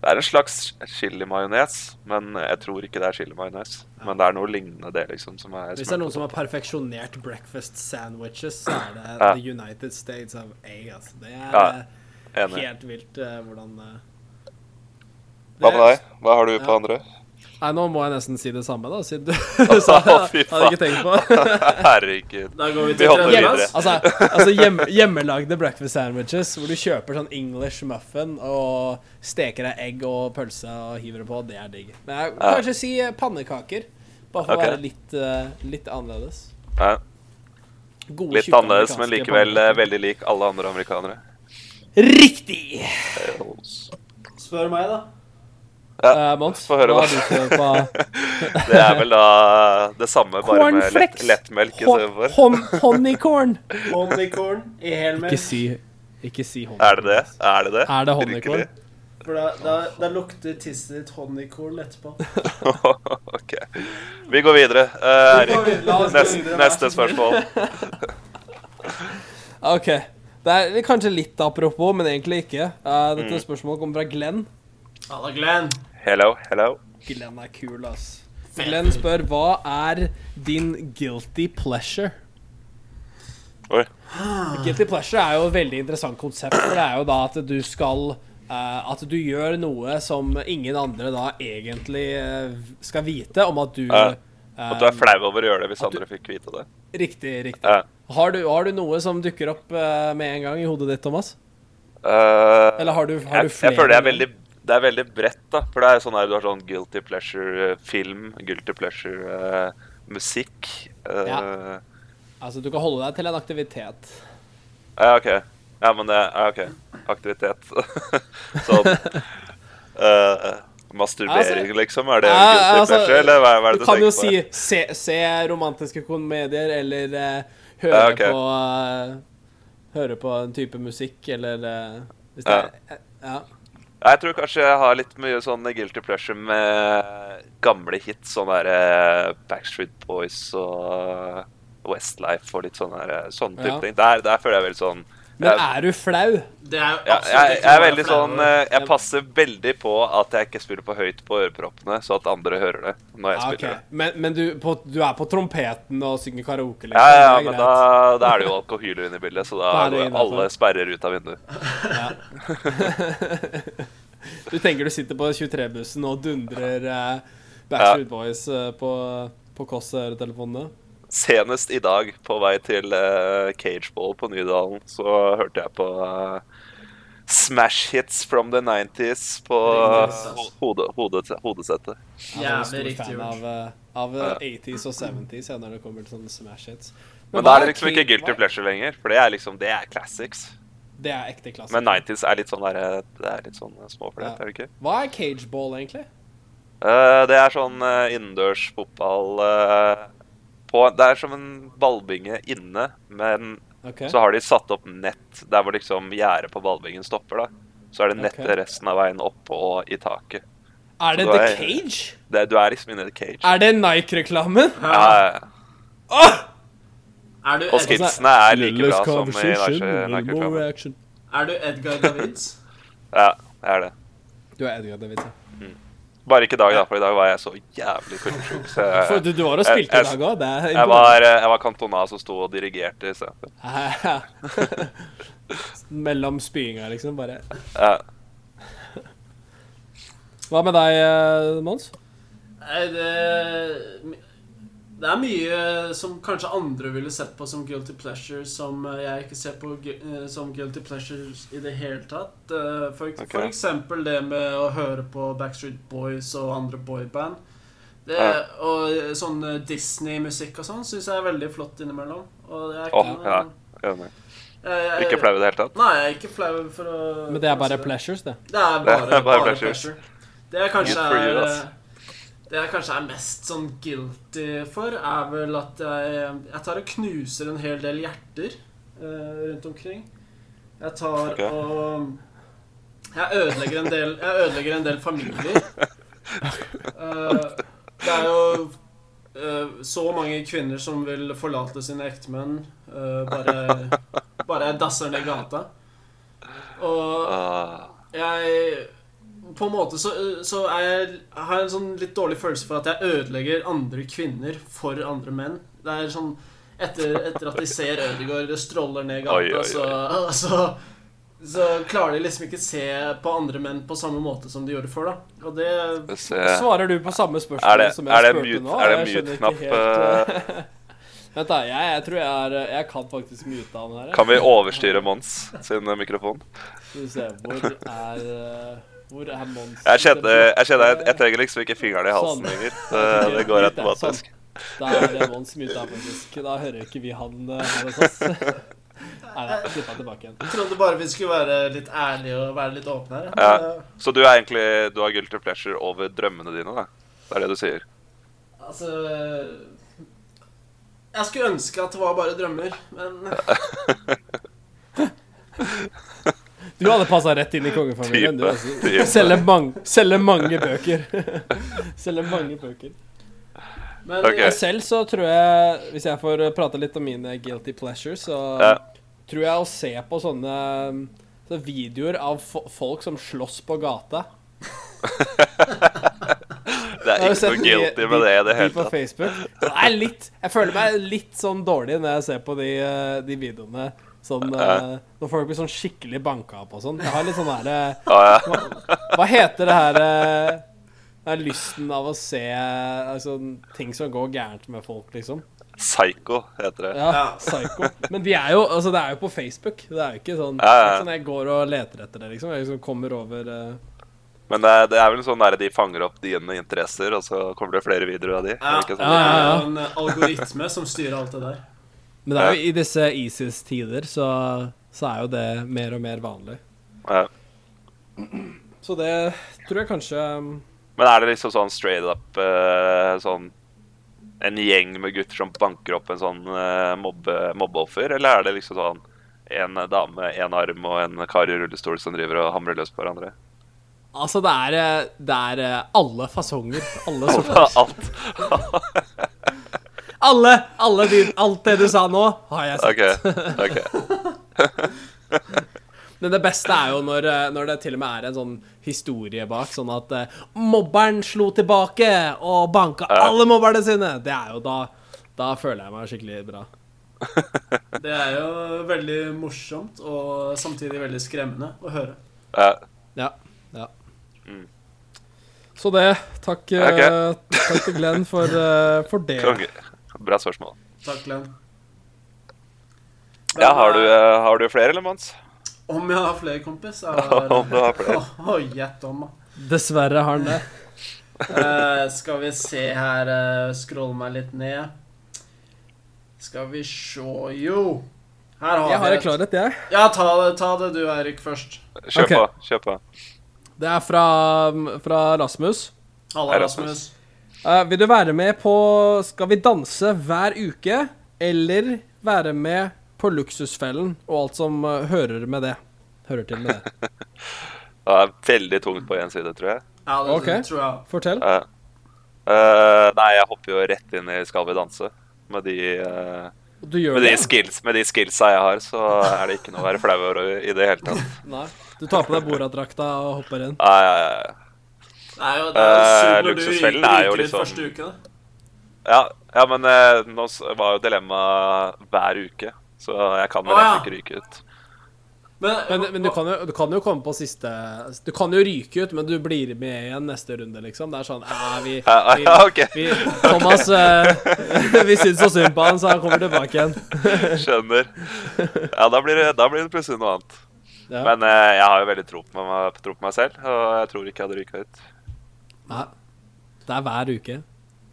Det er en slags chilimajones, men jeg tror ikke det er chilimajones. Men det er noe lignende det, liksom, som er
Hvis det er noen
smurt på
som har perfeksjonert breakfast sandwiches, så er det
Ja.
The United States of A. Altså. Det er
Ja,
eh,
topp. Enig.
helt vilt eh, hvordan eh,
Hva med deg? Hva har du
Ja.
på
[laughs]
andre?
Nei, nå må jeg nesten si det samme, da, siden du [laughs] sa det.
Å, fy
Hadde jeg ikke tenkt på. [laughs]
[laughs] Herregud.
Da går vi
Vi
til
hopper
tredjeplass.
Altså, altså hjem, hjemmelagde breakfast sandwiches hvor du kjøper sånn English muffin og steker deg egg og pølse og hiver det på, det er digg. Men jeg vil
Ja.
kanskje si eh, pannekaker. Bare for
Ok.
å være litt, eh, litt annerledes.
Ja,
Gode,
litt
tjukke
annerledes, men
amerikanske
likevel eh,
pannekaker.
veldig lik alle andre amerikanere.
Riktig!
Spør meg, da.
Eh, Mons,
Få høre
hva
hva-
har du på-
[laughs]
på
Det er vel da det samme, bare med lett,
Cornflakes.
lettmelk
Hon-
istedenfor.
hon- Honeycorn.
Honeycorn i helmelk.
Ikke si Ikke si honeycorn.
Er det det? Er det det?
Er det honeycorn?
Virkelig? [laughs]
For da, da, da lukter tisset ditt honeycorn etterpå.
OK. Vi går videre. Eh,
Vi går videre. La oss
Eirik,
gå
neste,
videre, vær
neste
så snill.
spørsmål.
OK. Det er kanskje litt apropos, men egentlig ikke. Eh, dette
Mm.
spørsmålet kommer fra Glenn.
Halla, Glenn.
Hello, hello.
Glenn er kul, ass.
Fet.
Glenn spør hva er din guilty pleasure?
Oi.
Guilty pleasure er jo et veldig interessant konsept, for det er jo da at du skal eh, At du gjør noe som ingen andre da egentlig eh, skal vite om at du
Ja. At du er
eh,
flau over å gjøre det hvis
At du-
andre fikk vite det.
Riktig, riktig.
Ja.
Har du, har du noe som dukker opp eh, med en gang i hodet ditt, Thomas?
Eh,
Eller har du, har
jeg,
du flere?
jeg føler det er veldig det er veldig bredt, da. For det er sånn her, du har sånn guilty pleasure-film, guilty eh, pleasure-musikk.
Ja. Altså, du kan holde deg til en aktivitet.
Ja, OK. Ja, men det Ja, OK. Aktivitet. [laughs] sånn eh, Masturbering,
Altså-
liksom? Er det
Ja,
guilty
altså,
pleasure, eller hva, hva er
Du
det du
kan jo
tenker
si
på?
se, se romantiske komedier, eller eh, høre
Ja, ok.
på eh, Høre på en type musikk, eller eh, Hvis det
Ja.
er eh, Ja.
Jeg tror kanskje jeg har litt mye sånn guilty pleasure med gamle hits, sånn der eh, Backstreet Boys og Westlife og litt sånne, der, eh, sånne type
Ja.
ting. Der, der føler jeg vel sånn
Men
jeg-
er altså, du flau?
Det er jo
Ja,
absolutt
jeg,
ikke
jeg er
bare
veldig
flau
sånn
over.
eh, Jeg passer veldig på at jeg ikke spiller for høyt på øreproppene, så at andre hører det når jeg
Ja, Ah, ok.
spiller. det.
Men, men du, på, du er på trompeten og synger karaoke? liksom.
Ja, ja, ja,
det er
men
greit.
da, da er det jo alkohyler inne i bildet, så da
Da er det
går
innenfor.
alle sperrer ut av vinduet.
[laughs] Du tenker du sitter på 23-bussen og dundrer eh, Backstreet Boys eh, på, på Kåss-øretelefonene?
Senest i dag, på vei til eh, cageball på Nydalen, så hørte jeg på eh, Smash hits from the 90s på eh, ho- hode, hode, hodesettet.
Jeg er sånn
Jævlig
stor
riktig
fan
gjort.
av, eh, av eh, 80s og 70s ja, når det kommer til sånne smash hits.
Men da
hva
er det liksom
King-
ikke guilty
hva-
pleasure lenger, for det er liksom Det er classics.
Det er ekte klassiker.
Men 90s er litt sånn der, eh, Det er litt sånn eh, småflert,
Altså- Ja.
er det ikke?
Hva er cageball, egentlig?
Eh, det er sånn eh, innendørs fotball eh, på Det er som en ballbinge inne, men
Ok.
så har de satt opp nett der hvor liksom gjerdet på ballbingen stopper. da. Så er det nett
Ok.
resten av veien opp og i taket.
er det
så
The
da er-
Cage?
Det, du er liksom inne i the cage.
Er det Nike-reklamen?
Ja, ja, ja.
Åh!
Er du,
Og
Ed,
skitsene er like bra som i Nike-reklamen.
er du Edgar Davids?
Ja, det er det.
Du er Edgar Davids, ja.
Bare ikke i dag, da, for i dag var jeg så jævlig fyllesyk. Så
[laughs] For
jeg,
du, du var og
jeg-
spilte i
jeg-
dag òg. Det er
jeg, var, eh, jeg var kantona som sto og dirigerte
[laughs]
istedenfor.
imponerende. Mellom spyinga, liksom. Bare
Ja.
Hva med deg, eh, Mons?
Nei, det Det er mye som kanskje andre ville sett på som guilty pleasure, som eh, jeg ikke ser på gu- eh, som guilty pleasures i det hele tatt. Eh, For, ek-
Ok.
for eksempel det med å høre på Backstreet Boys og andre boyband. Det,
Ja.
Og eh, sånn eh, Disney-musikk og sånn syns jeg er veldig flott innimellom. Og det er ikke
Åh, ja. Enig.
Eh,
Ikke flau i det hele
[laughs]
tatt.
Nei, jeg er ikke flau for å
Men det er bare
for å si
pleasures, det.
det er bare,
Det
bare,
er bare pleasures.
pleasure. Det jeg kanskje
Good for you,
er eh,
ass.
Det jeg kanskje er mest sånn guilty for, er vel at jeg, eh, jeg tar og knuser en hel del hjerter eh, rundt omkring. Jeg tar
Ok.
og Jeg ødelegger en del, jeg ødelegger en del familier. Eh, det er jo eh, så mange kvinner som vil forlate sine ektemenn eh, bare, bare jeg dasser ned gata. Og
Ah,
jeg På en måte så, så er jeg, jeg har en sånn litt dårlig følelse for at jeg ødelegger andre kvinner for andre menn. Det er sånn Etter, etter at de ser Ødegaard stråler ned gata,
Oi, oi, oi.
Så, så, så klarer de liksom ikke se på andre menn på samme måte som de gjorde før, da. Og det
skal vi se.
Svarer du på
Eh,
samme
Er
spørsmål
det,
som
er
jeg
det
spurte nå?
mute- er det
Jeg skjønner ikke
mute-knapp?
helt,
eh,
eh, [laughs] Vent, da. Jeg, jeg tror jeg er eh, Jeg kan faktisk mute han her. jeg.
Kan vi overstyre Mons sin eh, mikrofon?
Skal vi se Hvor er eh, Hvor er Mons?
Jeg kjenner, jeg, kjenner jeg, jeg trenger liksom ikke fingrene i halsen
Sånn.
lenger. Det, det går automatisk.
Da er det Mons mute her, faktisk. Da hører ikke vi han eh, her hos oss. [laughs] Nei, nei, slipp han tilbake igjen.
jeg trodde bare vi skulle være litt ærlige og være litt åpne her.
Ja.
Eh,
Men,
Så du er egentlig Du har guilty pleasure over drømmene dine, da? Det er det du sier?
eh, altså Jeg skulle ønske at det var bare drømmer, men
Du hadde passa rett inn i kongefamilien. Du,
Type,
altså.
type.
Selge, mang, selge mange bøker. [laughs] Selge mange bøker.
Men
[laughs] Ok.
Jeg selv så tror jeg, hvis jeg får prate litt om mine guilty pleasures, så
Ja.
tror jeg å se på sånne så videoer av fo folk som slåss på gata.
Det er ikke noe guilty med det i det hele tatt.
tatt. På Facebook. Så jeg, er litt, jeg føler meg litt sånn dårlig når jeg ser på de, eh, de videoene. Sånn,
Ja.
eh, når folk blir sånn skikkelig banka opp og sånn. Jeg har litt sånn derre
Å, Ah, ja. [laughs]
hva heter det her eh, Det er lysten av å se eh, altså, ting som går gærent med folk, liksom.
Psycho heter det.
Ja, psycho. Men de er jo, altså, det er jo på Facebook. Det er jo ikke sånn,
Ja, ja.
ikke sånn jeg går og leter etter det, liksom. Jeg liksom kommer over eh,
Men det, er- det er vel sånn der de fanger opp dine interesser, og så kommer det flere videoer av de?
Ja,
er det Ikke
det
sånn?
Ja, ja,
er
ja.
jo en algoritme som styrer alt det der.
Men det er jo i disse ISIS-tider, så, så er jo det mer og mer vanlig.
Ja.
Så det tror jeg kanskje um,
Men er det liksom sånn straight up eh, sånn En gjeng med gutter som banker opp en sånn eh, mobbe, mobbeoffer, eller er det liksom sånn en dame, en arm og en kar i rullestol som driver og hamrer løs på hverandre? [laughs]
Altså, det er, eh, det er eh, alle fasonger. Alle
[laughs]
sorter.
Alt.
Alle, alle de, alt det du sa nå, har jeg sett.
OK. ok.
Men det beste er jo når, eh, når det til og med er en sånn historie bak, sånn at eh, mobberen slo tilbake og banka
Ja.
alle mobberne sine. Det er jo da Da føler jeg meg skikkelig bra.
Det er jo veldig morsomt og samtidig veldig skremmende å høre.
Ja.
Ja. ja.
Mm.
Så det. Takk, eh,
Ok.
takk til Glenn for, eh, for det.
Konge. Bra spørsmål.
Takk, Len.
Ja, har du, eh, har du flere, eller, Mons?
Om jeg har flere, kompis? Jeg
[laughs] Om du har flere.
Å, gjett om, da.
Dessverre har han det.
Eh, skal vi se her eh, Scroll meg litt ned. Skal vi sjå Jo! Her har
Jeg har
vi
en klarhet, jeg.
Ja, ta det, ta det du, Eirik, først.
Kjør
Ok.
på. Kjør på.
Det er fra, fra Rasmus.
Halla,
Hei, Rasmus.
Rasmus.
Eh, vil du være med på Skal vi danse hver uke, eller være med på Luksusfellen og alt som eh, hører med det? Hører til med det.
Det er veldig tungt på én side, tror jeg.
Ja, det
Ok.
tror jeg.
Fortell.
Ja. Eh, nei, jeg hopper jo rett inn i Skal vi danse med de eh,
Du gjør
Med de,
det.
skills, med de skillsa jeg har, så er det ikke noe å være flau over i det hele tatt.
Nei. Du tar på deg Borat-drakta og hopper inn.
Nei, ja, ja, ja.
Det er jo, det er jo
Eh,
sykt når du
luksusfellen er
ryker
jo
ut
liksom-
første uke, da.
Ja, ja, men eh, nå s- var jo dilemmaet hver uke, så jeg kan vel
Å, ja.
egentlig ikke ryke ut.
Men,
Men, men du, kan jo, du kan jo komme på siste Du kan jo ryke ut, men du blir med igjen neste runde, liksom. Det er sånn eh, vi,
Ja, [laughs]
vi,
ja, ok,
vi, Thomas eh, [laughs] Vi syns så synd på han, så han kommer tilbake igjen.
skjønner. Ja, da blir det, da blir det plutselig noe annet.
Ja.
Men eh, jeg har jo veldig tro på meg, tro på meg selv, og jeg tror ikke jeg hadde ryka ut
Nei. Det er hver uke.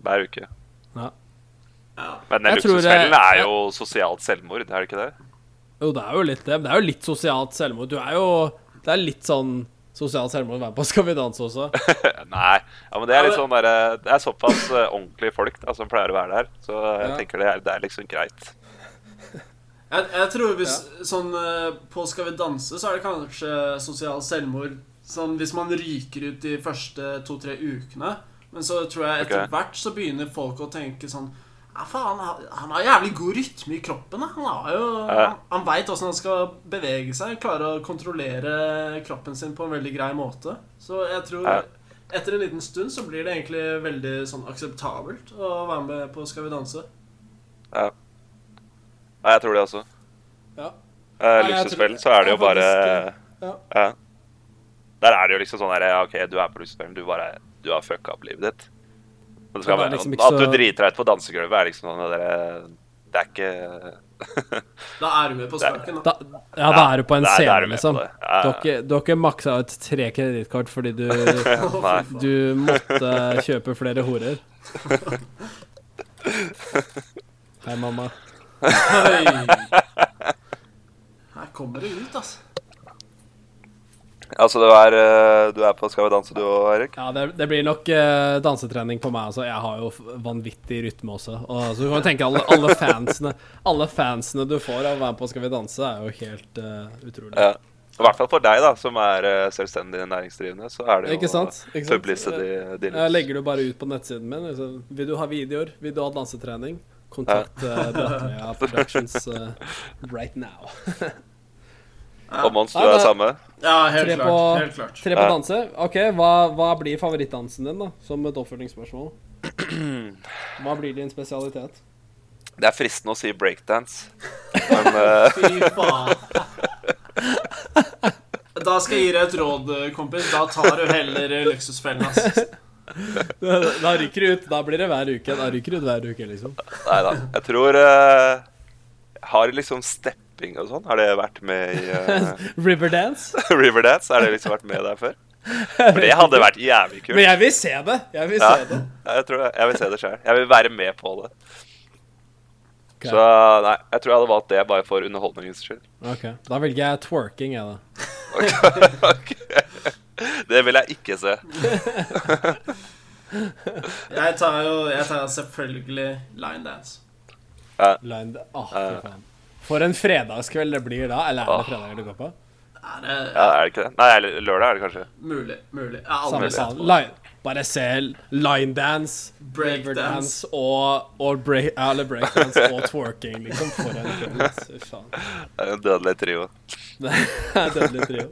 hver uke.
Ja.
Men den
Jeg tror det-
luksusfellen er jo sosialt selvmord, er det ikke det? [laughs]
Jo, det er jo litt det. men Det er jo litt sosialt selvmord. Du er jo Det er litt sånn sosialt selvmord hver på [laughs] Skal vi danse også.
Nei. Ja, men det
Ja,
er litt sånn der, eh, Det er såpass eh, ordentlige folk da, som pleier å være der, så jeg
Ja.
tenker det er, det er liksom greit.
Jeg, jeg tror hvis sånn eh, på Skal vi danse, så er det kanskje sosial selvmord sånn, Hvis man ryker ut de første to-tre ukene. Men så tror jeg etter
Ok.
hvert så begynner folk å tenke sånn Ja, faen, han, han har jævlig god rytme i kroppen, da. Han har jo
Ja.
Han, han veit åssen han skal bevege seg. Klare å kontrollere kroppen sin på en veldig grei måte. Så jeg tror
Ja.
etter en liten stund så blir det egentlig veldig sånn akseptabelt å være med på Skal vi danse.
Ja. Nei, jeg tror det også.
Ja.
Eh,
Nei, jeg
luksusfellen,
tror-
så er det jo
jeg
bare
faktisk- ja.
ja. Der er det jo liksom sånn derre OK, du er på luksusfellen, du bare du har fucka opp livet ditt. Men det skal
Men
være,
det er liksom ikke
At du
så-
driter deg ut på dansegulvet, er liksom sånn derre Det er ikke [laughs]
Da er du med på spaken, da.
Da, ja, da er du på en
Der- der er
scene,
du med på
liksom.
det. Ja, ja.
Dere, dere maksa ut tre kredittkort fordi du
[laughs] Nei.
Du måtte kjøpe flere
[laughs]
horer. Hei, mamma.
Oi. Her kommer det ut, altså.
Altså, du er, eh, du er på Skal vi danse, du òg, Erik?
Ja, det, det blir nok eh, dansetrening på meg. Altså. Jeg har jo f- vanvittig rytme også. Og, så du kan jo tenke alle, alle, fansene, alle fansene du får av å være med på Skal vi danse, er jo helt eh, utrolig.
Ja. I hvert fall for deg, da, som er eh, selvstendig næringsdrivende, så er det jo
Ikke sant? Ikke sant?
publicity de
Jeg Eh, legger det bare ut på nettsiden min. Liksom. Vil du ha videoer? Vil du ha dansetrening? Kontakt uh, Brattlia Productions eh, right
[laughs]
now.
Og Mons, du
Nei,
er
det-
samme?
Ja, helt
Tre
klart.
på-
Helt klart.
Tre på danse. Ok, hva, hva blir favorittdansen din, da? Som et
[clears throat]
oppfølgingsspørsmål. Hva blir din spesialitet?
Det er fristende å si
[laughs]
breakdance, men eh,
Fy faen. Da skal jeg gi deg et råd, kompis. Da tar du heller luksusfellen, ass.
Da ryker du ut. Da blir det hver uke. Da ryker du ut hver uke, liksom.
Nei da. Jeg tror eh, Har liksom stepping og sånn? Har det vært med i
[laughs]
eh, [laughs]
Riverdance.
Riverdance? Har det liksom vært med der før? For det hadde vært jævlig kult.
Men jeg vil se det. Jeg vil
Ja,
se det.
jeg tror det. Jeg vil se det sjøl. Jeg vil være med på det.
Ok.
Så nei, jeg tror jeg hadde valgt det bare for underholdningens skyld. [laughs]
Ok, Da velger jeg twerking, jeg, da.
Ok, ok. Det vil jeg ikke se. [laughs]
Jeg tar jo jeg tar selvfølgelig line dance.
Line Åh,
Eh.
fy faen. For en fredagskveld det blir da. Eller er det fredager du går på?
Er det
Ja, er det ikke det? Nei, eller lørdag er det kanskje.
mulig? Mulig. Jeg har aldri
Samme
sett
faen.
på
Line. Bare se linedance,
breakdance.
riverdance og, og break, ja, eller breakdance
[laughs]
og twerking, liksom. For en kveld. ass. Fy faen. [laughs]
Det er en dødelig trio.
Det er dødelig trio.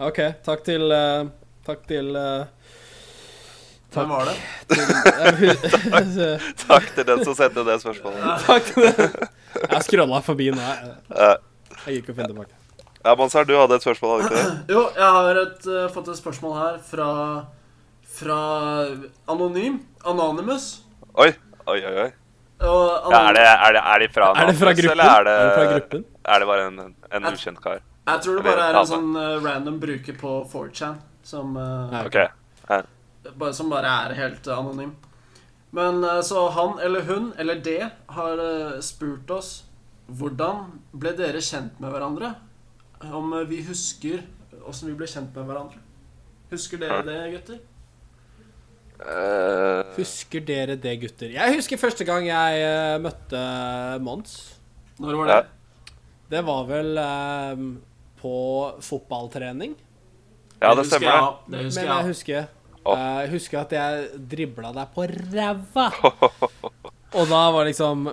OK. Takk til eh, Takk til eh,
Hvem var det?
Takk til den som sendte det spørsmålet.
Takk til Jeg scrolla forbi nå.
Ja.
Jeg, jeg gikk og fant tilbake.
Ja, Monsar, du hadde et spørsmål, hadde du ikke det?
Jo, jeg har et, eh, fått et spørsmål her fra, fra Anonym. Anonymous.
Oi, oi, oi. oi.
Og
Ja, er, det, er, det, er de fra
Er det fra
Namsos,
gruppen?
eller er det,
Er det fra gruppen?
er det bare en, en ukjent kar?
Jeg tror det bare
Eller altså-
er en
dame.
sånn eh, random bruker på 4chan som, eh,
Nei.
OK.
bare, som bare er helt eh, anonym. Men eh, så han eller hun eller det har eh, spurt oss hvordan ble dere kjent med hverandre? Om eh, vi husker åssen vi ble kjent med hverandre? Husker dere
Ja.
det, gutter?
Eh,
Husker dere det, gutter? Jeg husker første gang jeg eh, møtte Mons.
Når var det?
Ja.
Det var vel eh, på fotballtrening.
ja, det stemmer det.
det. Det husker
Men jeg
jeg.
husker
Åh.
eh, Jeg husker at jeg dribla deg på ræva.
[laughs]
Og da var liksom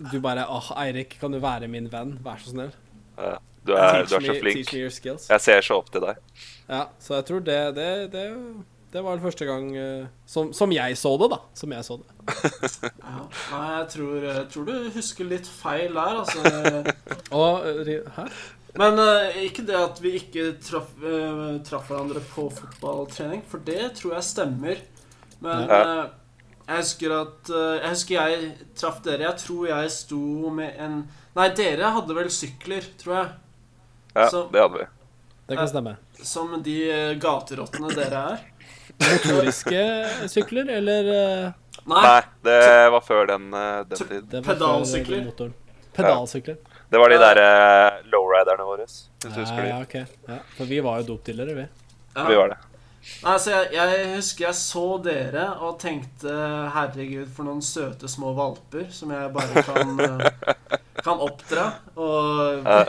Du bare Åh, Eirik, kan du være min venn? Vær så snill.
Ja, Eh, Du er, du er
me,
så flink.
teach me your skills.
Jeg ser så opp til deg.
Ja, så jeg tror det Det, det, det var den første gang eh, som, som jeg så det, da. Som jeg så det.
Ja. Nei, eh,
[laughs]
jeg tror, jeg tror du husker litt feil der, altså.
Og eh, ri- Hæ?
Men eh, ikke det at vi ikke traff, eh, traff hverandre på fotballtrening, for det tror jeg stemmer. Men
Ja.
eh, jeg husker at eh, Jeg husker jeg traff dere. Jeg tror jeg sto med en Nei, dere hadde vel sykler, tror jeg.
Ja,
Så-
det hadde vi.
Det kan stemme.
Som de eh, gaterottene dere er.
Motoriske sykler, eller eh,
Nei,
Nei, det var før den, eh, den
Så-
tid.
det var før
Pedalsykler.
motoren. Pedalsykler.
Det var de der eh, lowriderne våre, hvis du husker
Ja,
de.
ja, ok. Ja, for vi var jo dopdealere, vi.
ja.
Vi var det.
Nei, så jeg, jeg husker jeg så dere og tenkte Herregud, for noen søte små valper som jeg bare kan, eh, kan oppdra. Og
Ja.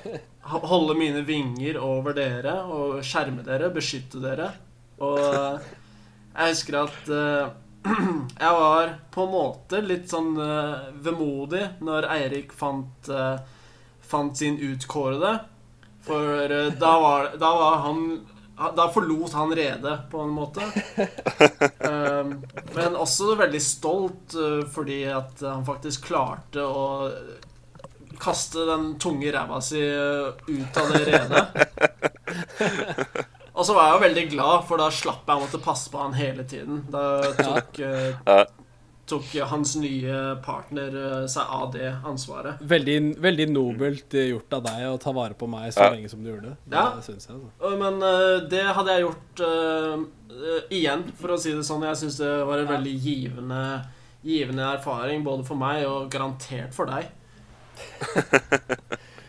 ho- holde mine vinger over dere og skjerme dere, beskytte dere. Og eh, jeg husker at eh, [clears throat] jeg var på en måte litt sånn eh, vemodig når Eirik fant, eh, fant sin utkårede. For eh, da, var, da var han Da forlot han redet, på en
[laughs]
måte. Um, men også veldig stolt eh, fordi at han faktisk klarte å kaste den tunge ræva si eh, ut av det redet. Og så var jeg jo veldig glad, for da slapp jeg å måtte passe på han hele tiden. Da tok, eh,
Ja.
tok hans nye partner eh, seg av det ansvaret.
Veldig, veldig nobelt eh, gjort av deg å ta vare på meg så
Ja.
lenge som du gjorde det.
Ja.
Det synes jeg, altså.
Og- Men eh, det hadde jeg gjort eh, eh, igjen, for å si det sånn. Jeg syns det var en veldig givende, givende erfaring, både for meg og garantert for deg.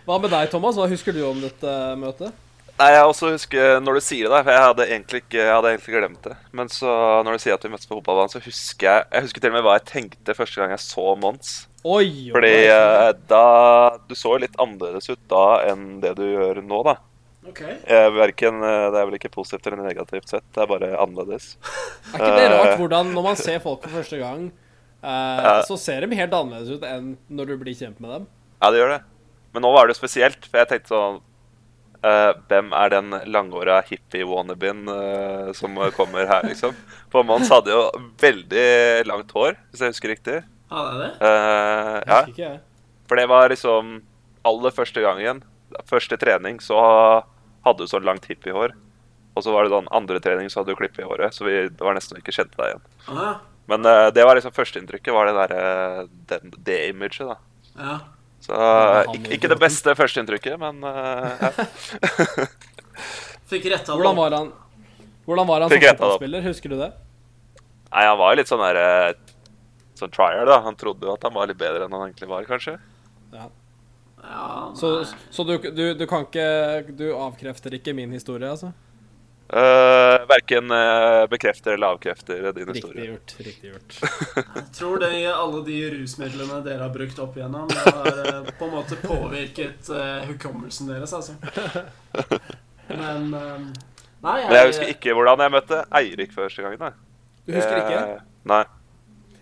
Hva med deg, Thomas? Hva husker du om dette møtet?
Nei, jeg også husker eh, når du sier det, der, for jeg hadde egentlig ikke, jeg hadde egentlig glemt det. Men så når du sier at vi møttes på fotballbanen, så husker jeg jeg husker til og med hva jeg tenkte første gang jeg så Mons.
Oi! oi,
Fordi
oi.
eh, da Du så jo litt annerledes ut da enn det du gjør nå, da.
Okay.
Eh, Hverken, eh, det er vel ikke positivt eller negativt sett, det er bare annerledes.
Er ikke det rart
Eh.
hvordan når man ser folk for første gang, eh, så ser de helt annerledes ut enn når du blir kjent med dem?
Ja, det gjør det. Men nå var det jo spesielt, for jeg tenkte sånn eh, Hvem er den langåra hippie-wannaben eh, som kommer her, liksom? For Mons hadde jo veldig langt hår, hvis jeg husker riktig.
Hadde jeg det?
Eh, ja,
Husker ikke jeg.
for det var liksom aller første gangen. Første trening så hadde du så langt hippiehår. Og så var det sånn andre trening så hadde du klippe i håret, så vi det var nesten ikke kjente deg igjen.
Ah,
Men eh, det var liksom førsteinntrykket, var det derre den- det imaget, da.
ja.
Så
Ja, han
ikke,
er
ikke det
idioten.
beste førsteinntrykket, men eh, ja.
[laughs]
Fikk retta det
Hvordan
opp.
var han Hvordan var han
Fikk
som
retta det opp.
fotballspiller? Husker du det?
[laughs] Nei, han var jo litt sånn der eh, Sånn trier, da. Han trodde jo at han var litt bedre enn han egentlig var, kanskje.
Ja,
Så,
nei.
så du, du, du kan ikke Du avkrefter ikke min historie, altså?
Uh, verken eh, bekrefter eller avkrefter din
Riktig
historie.
gjort. Riktig gjort.
[laughs]
Jeg tror det i alle de rusmidlene dere har brukt opp igjennom, det har eh, på en måte påvirket eh, hukommelsen deres,
[laughs]
altså. Men eh, Nei, jeg,
Men jeg husker ikke hvordan jeg møtte Eirik første gangen. da.
Du husker ikke?
Eh, nei.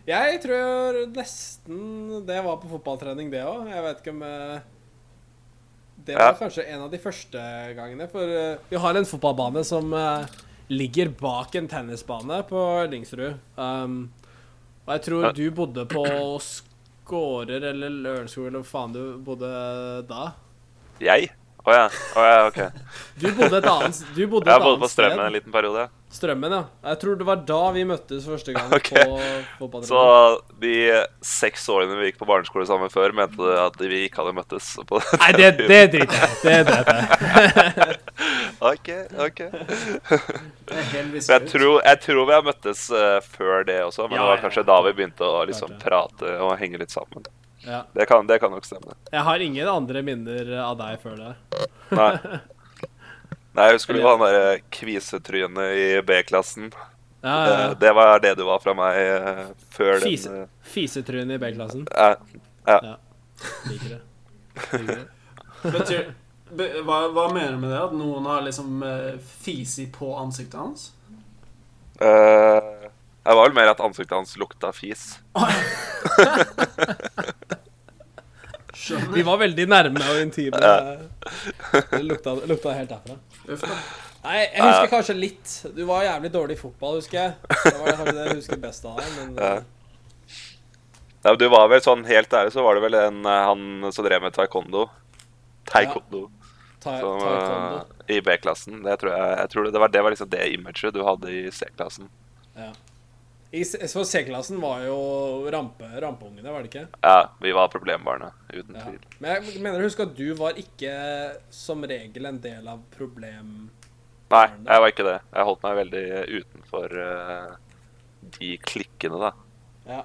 Jeg tror nesten det var på fotballtrening, det òg. Jeg vet ikke om eh, Det var
Ja.
kanskje en av de første gangene. For eh, vi har en fotballbane som eh, ligger bak en tennisbane på Lyngsrud. Um, og jeg tror
Ja.
du bodde på Skårer eller Lørenskog eller hva faen du bodde da.
Jeg? Å ja. Å ja, OK.
Du bodde et annet, [laughs] du bodde
Jeg
et
bodde
annet
på Strømmen en
sted.
liten periode.
Strømmen, ja. Jeg tror det var da vi møttes første
[laughs]
gang
Ok.
på fotballtrening.
Så de seks årene vi gikk på barneskole sammen før, mente du at vi ikke hadde møttes? På
Nei, det, det driter jeg i. Det driter jeg i.
[laughs] OK, OK.
jeg er helt visker
Men jeg
ut.
tror, jeg tror vi har møttes eh, før det også, men
Ja,
det var
ja,
kanskje
ja.
da vi begynte å liksom
Klart det.
prate og henge litt sammen.
Ja.
Det kan, det kan nok stemme.
[laughs] Jeg har ingen andre minner av deg før det.
Nei. Nei, jeg husker du var han derre kvisetrynet i B-klassen.
[laughs] Ja, ja,
Eh,
ja.
Det var det du var fra meg eh, før den
Fise, fisetryne i B-klassen.
eh, eh,
Liker det. Liker det.
Betyr, be, hva, hva mener du med det? At noen har liksom eh, fisi på ansiktet hans?
eh, Det var vel mer at ansiktet hans lukta fis.
Skjønner.
Vi var veldig nærme og intime. Det lukta, lukta helt derfra.
Uff da.
Nei, jeg husker kanskje litt. Du var jævlig dårlig i fotball, husker jeg. Det var kanskje det jeg husker best av deg, men eh,
Ja. Nei, men du var vel sånn helt ærlig, så var det vel en eh, han som drev med taekwondo. Taekwondo.
Tai-
Som,
Taekwondo.
eh, I B-klassen. Det tror jeg, jeg tror det, det, var, det var liksom det imaget du hadde i C-klassen.
Ja. I S- så C-klassen var jo rampe, rampeungene, var det ikke?
Ja, vi var problembarna, uten
Ja.
tvil.
Men jeg mener å huske at du var ikke som regel en del av problem...
Nei, jeg var ikke det. Jeg holdt meg veldig utenfor eh, de klikkene, da.
Ja.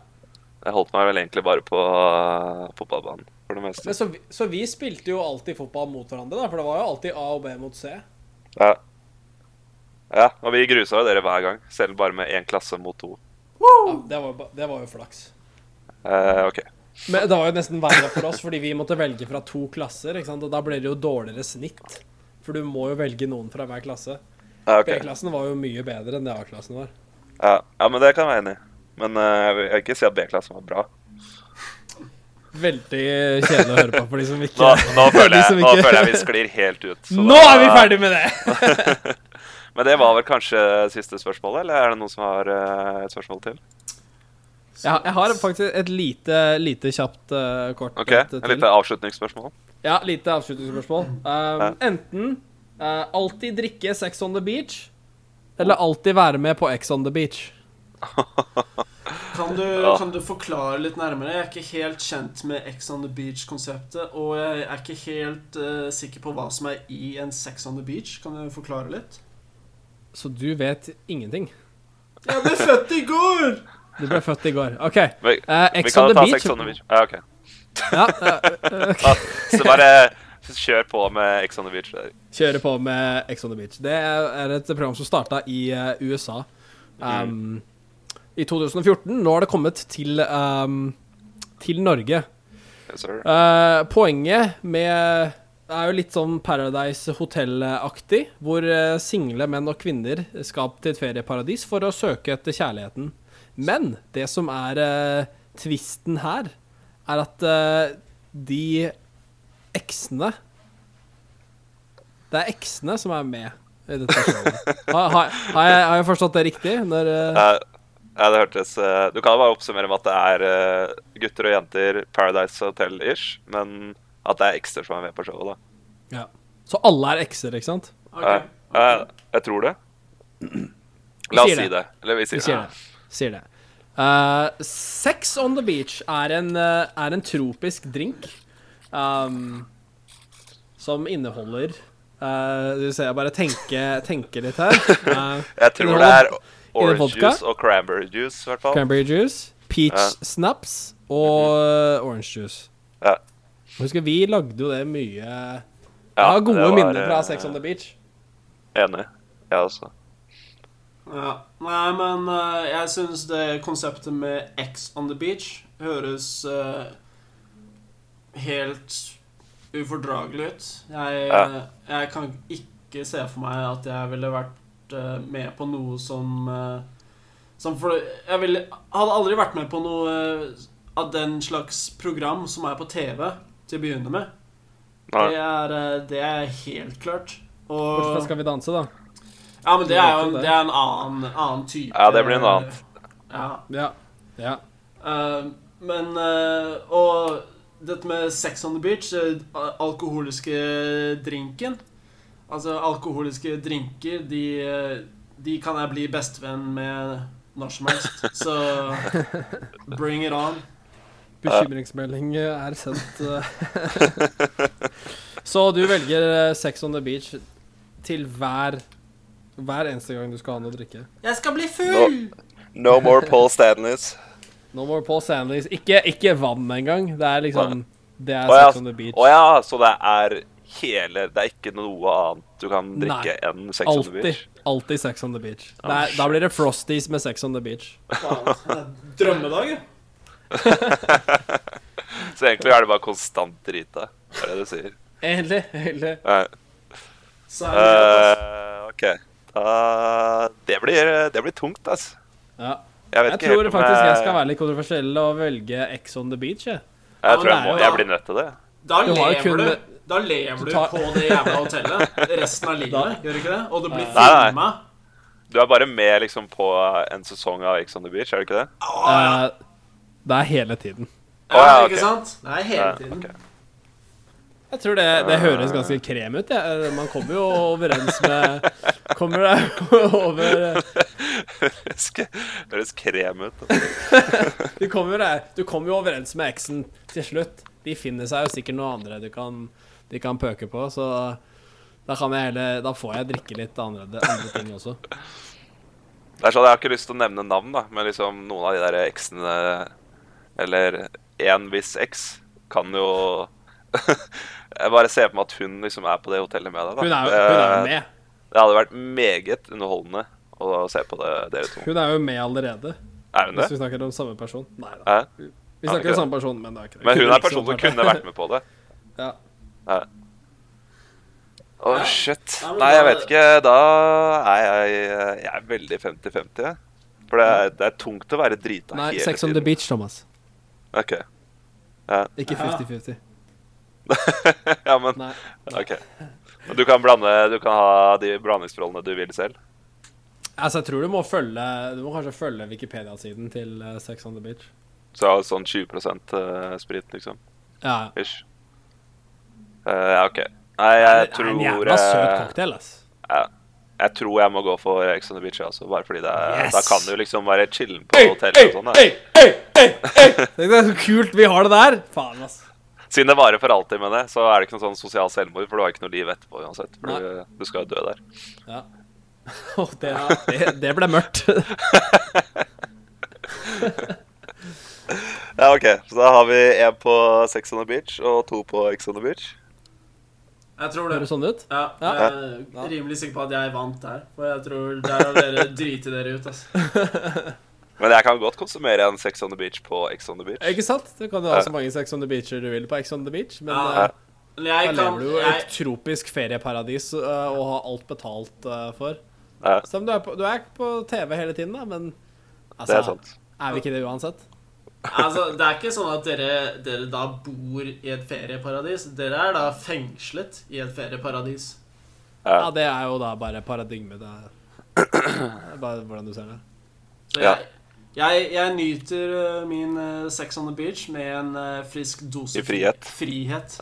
Jeg holdt meg vel egentlig bare på eh, fotballbanen, for det meste.
Men så, vi, så vi spilte jo alltid fotball mot hverandre, da, for det var jo alltid A og B mot C.
Ja. ja, og vi grusa jo dere hver gang, selv bare med én klasse mot to.
Ja, det, var, jo ba- det var jo flaks.
Eh, OK.
Men det var jo nesten verre for oss, fordi vi måtte velge fra to klasser, ikke sant? og da ble det jo dårligere snitt. For du må jo velge noen fra hver klasse.
Ja, ok.
B-klassen var jo mye bedre enn det A-klassen var.
Ja, ja, men det kan jeg være enig i. Men eh, jeg vil ikke si at B-klassen var
[laughs]
bra.
Veldig kjedelig å høre på [laughs] for de som
Nå,
ikke
nå, føler,
de som
jeg, nå
ikke-
føler
[laughs]
jeg vi sklir helt ut. så
Nå
da-
er vi ferdig med det!
Men det var vel kanskje siste spørsmål, eller er det noen som har eh, et spørsmål til?
Jeg, jeg har faktisk et lite, lite kjapt eh, kort
OK,
et
et
til.
lite avslutningsspørsmål.
Ja, lite avslutningsspørsmål. Um, enten eh, alltid drikke Sex on the beach, eller alltid være med på X on the beach.
Kan du,
Ja.
kan du forklare litt nærmere? Jeg er ikke helt kjent med Ex on the Beach-konseptet. Og jeg er ikke helt eh, sikker på hva som er i en Sex on the Beach. Kan du forklare litt?
Så du vet ingenting.
Jeg ble født i går!
Du ble født i
[laughs]
går. OK.
Vi,
eh,
vi
X
kan
on
jo
the
ta
beach.
Sex on the Beach. Ja, OK. [laughs]
Ja, eh, ok.
Ja, så bare kjør på med Ex on the Beach. Der.
Kjøre på med Ex on the Beach. Det er et program som starta i eh, USA
Mm.
um, i 2014. Nå har det kommet til, um, til Norge.
Yes, sir.
Eh, poenget med Det er jo litt sånn Paradise Hotel-aktig, hvor eh, single menn og kvinner skal til et ferieparadis for å søke etter kjærligheten. Men det som er eh, tvisten her, er at eh, de eksene Det er eksene som er med i dette showet. Har, har, har, jeg, har jeg forstått det riktig? Når, eh,
Ja, ja, det hørtes eh, Du kan jo bare oppsummere med at det er eh, gutter og jenter, Paradise Hotel-ish, men at det er ekster som er med på showet, da.
ja. Så alle er ekser, ikke sant?
Ok.
Ja, ja, jeg tror det. La
sier
oss si
det.
det. Eller vi
Vi
sier
sier
det.
det. Sier det. Eh, sex on the beach er en, eh, er en tropisk drink um, som inneholder eh, Du ser jeg bare tenker, tenker litt
[laughs]
her. Eh,
Jeg tror det er orange
vodka?
juice og cranberry juice, i hvert fall.
cranberry juice, peach
Ja.
snaps og eh, orange juice.
Ja.
Jeg husker vi lagde jo det mye Jeg
Ja,
har
det
gode
var,
minner fra
eh,
Sex on the beach.
Enig. Jeg også.
Ja. Nei, men eh, jeg syns det konseptet med X on the beach høres eh, helt ufordragelig ut. Jeg,
Ja.
jeg kan ikke se for meg at jeg ville vært eh, med på noe som eh, Som for Jeg ville, hadde aldri vært med på noe eh, av den slags program som er på TV til å begynne med.
Nei.
Det er, eh, det er helt klart.
Bortsett fra
Og
Skal vi danse, da.
ja, men det er jo
Du vet jo
en,
det.
det er en annen, annen type
Ja, det blir noe annet.
Ja.
Ja. ja.
eh, men eh, Og dette med sex on the beach, eh, alkoholiske drinken Altså, alkoholiske drinker, de, eh, de kan jeg bli bestevenn med når som helst. Så bring it on.
Bekymringsmelding eh, er sendt.
[laughs]
eh. Så du velger eh, Sex on the beach til hver Hver eneste gang du skal ha noe å drikke.
Jeg skal bli full!
No more Paul
[laughs]
Stanleys.
No more Paul Sandleys. Ikke, ikke vann engang. Det er liksom Det er
Å ja,
Sex on the beach.
å ja, så det er hele Det er ikke noe annet du kan drikke enn Sex on the
Alltid.
Beach?
Alltid Sex on the beach. Det er, da blir det Frosties med Sex on the beach.
Faen, altså, Drømmedag, ja.
[laughs] Så egentlig er det bare konstant drita. Det er det du sier.
Egentlig. egentlig.
Nei.
Seriøst, ass.
Eh, OK. Da det, blir, det blir tungt, altså.
Ja.
Jeg vet
Jeg
ikke
tror
helt om
faktisk jeg skal være litt kontroversiell og velge X on the beach. Jeg.
Ja,
Jeg tror
men
jeg,
det er
må,
jo-
jeg blir nødt til det.
Da
Du har jo
lever
kun-
du, da lever du
tar-
på det jævla hotellet resten av livet, gjør du ikke det? Og du blir
Nei, nei.
filma.
Du er bare med liksom på en sesong av Ex on the Beach, er du ikke det?
Eh, det er hele tiden.
Ja,
Å, ja, ok. [laughs]
ikke sant? Nei, hele
Ja,
tiden.
ok.
Jeg tror det, det høres ganske krem ut. Ja. Man kommer jo overens med Kommer deg [laughs] over
Høres k- høres krem ut. da.
du kommer, jo deg- du kommer jo overens med eksen til slutt. De finner seg jo sikkert noen andre du kan, de kan pøke på, så da, kan jeg heller, da får jeg drikke litt andre, andre ting også.
Det er sånn, Jeg har ikke lyst til å nevne navn, da, men liksom noen av de der eksene Eller en viss eks kan jo [laughs] Jeg bare ser for meg at hun liksom er på det hotellet med deg. da.
Hun er, jo- hun er jo
Det-
med.
Det hadde vært meget underholdende å se på det, dere to.
Hun er jo med allerede,
Er hun det?
hvis vi snakker om samme person. Nei da.
Hæ?
Vi
Ja, ikke
snakker om samme person, men det er ikke det.
Men hun
Kunne
er
liksom ikke
personen som
vært det.
kunne vært med på
[laughs]
det.
Ja.
Å, shit.
Nei, men
Nei, jeg
da-
vet ikke. Da er jeg, jeg er veldig 50-50. jeg. For det er, det er tungt å være drita
Nei,
hele
Sex on the beach, Thomas.
OK.
Ikke
Ja.
50-50.
[laughs] ja, men
Nei.
OK. Men Du kan blande Du kan ha de blandingsforholdene du vil selv.
Altså, jeg tror du må følge Du må kanskje følge Wikipedia-siden til eh, Sex on the Beach.
Så sånn 20 eh, sprit, liksom.
Ja, ja.
Ish. Eh, Ja, OK. Nei, jeg
Det er
tror
En jævla søt
jeg,
cocktail, ass.
jeg tror jeg må gå for Ex on the Beach, altså. Bare fordi det er,
Yes!
da kan du liksom være chillen på hotellet og sånn. da.
[laughs] Tenk deg så kult vi har det der! Faen, ass.
Siden det varer for alltid med det, så er det ikke noe sånn sosial selvmord, for du har ikke noe liv etterpå uansett. For du, du skal jo dø der.
Ja. [laughs] Åh, det, det, det ble mørkt. [laughs]
Ja, ok. Så da har vi én på Sex on the Beach og to på Ex on the Beach.
Jeg tror det.
Høres sånn ut?
Ja,
Ja.
jeg er rimelig sikker på at jeg vant der. For jeg tror der har dere driti dere ut. Altså.
Men jeg kan godt konsumere en Sex on the Beach på Ex on the Beach.
Ikke sant? Du kan jo ha så mange Sex on the Beach du vil på Ex on the Beach, men
Ja.
eh,
Men jeg
da
kan
lever du jo i
jeg,
et tropisk ferieparadis eh, og har alt betalt eh, for.
Ja.
Selv om du er, på, du er ikke på TV hele tiden, da, men
Det
altså,
er sant.
er vi ikke det uansett?
altså, Det er ikke sånn at dere, dere da bor i et ferieparadis. Dere er da fengslet i et ferieparadis.
Ja,
Ja.
det er jo da bare paradigmet. Det er- det er bare hvordan du ser det.
Så
Ja.
jeg, jeg, jeg nyter eh, min eh, sex on the beach med en eh, frisk dose
I frihet.
frihet.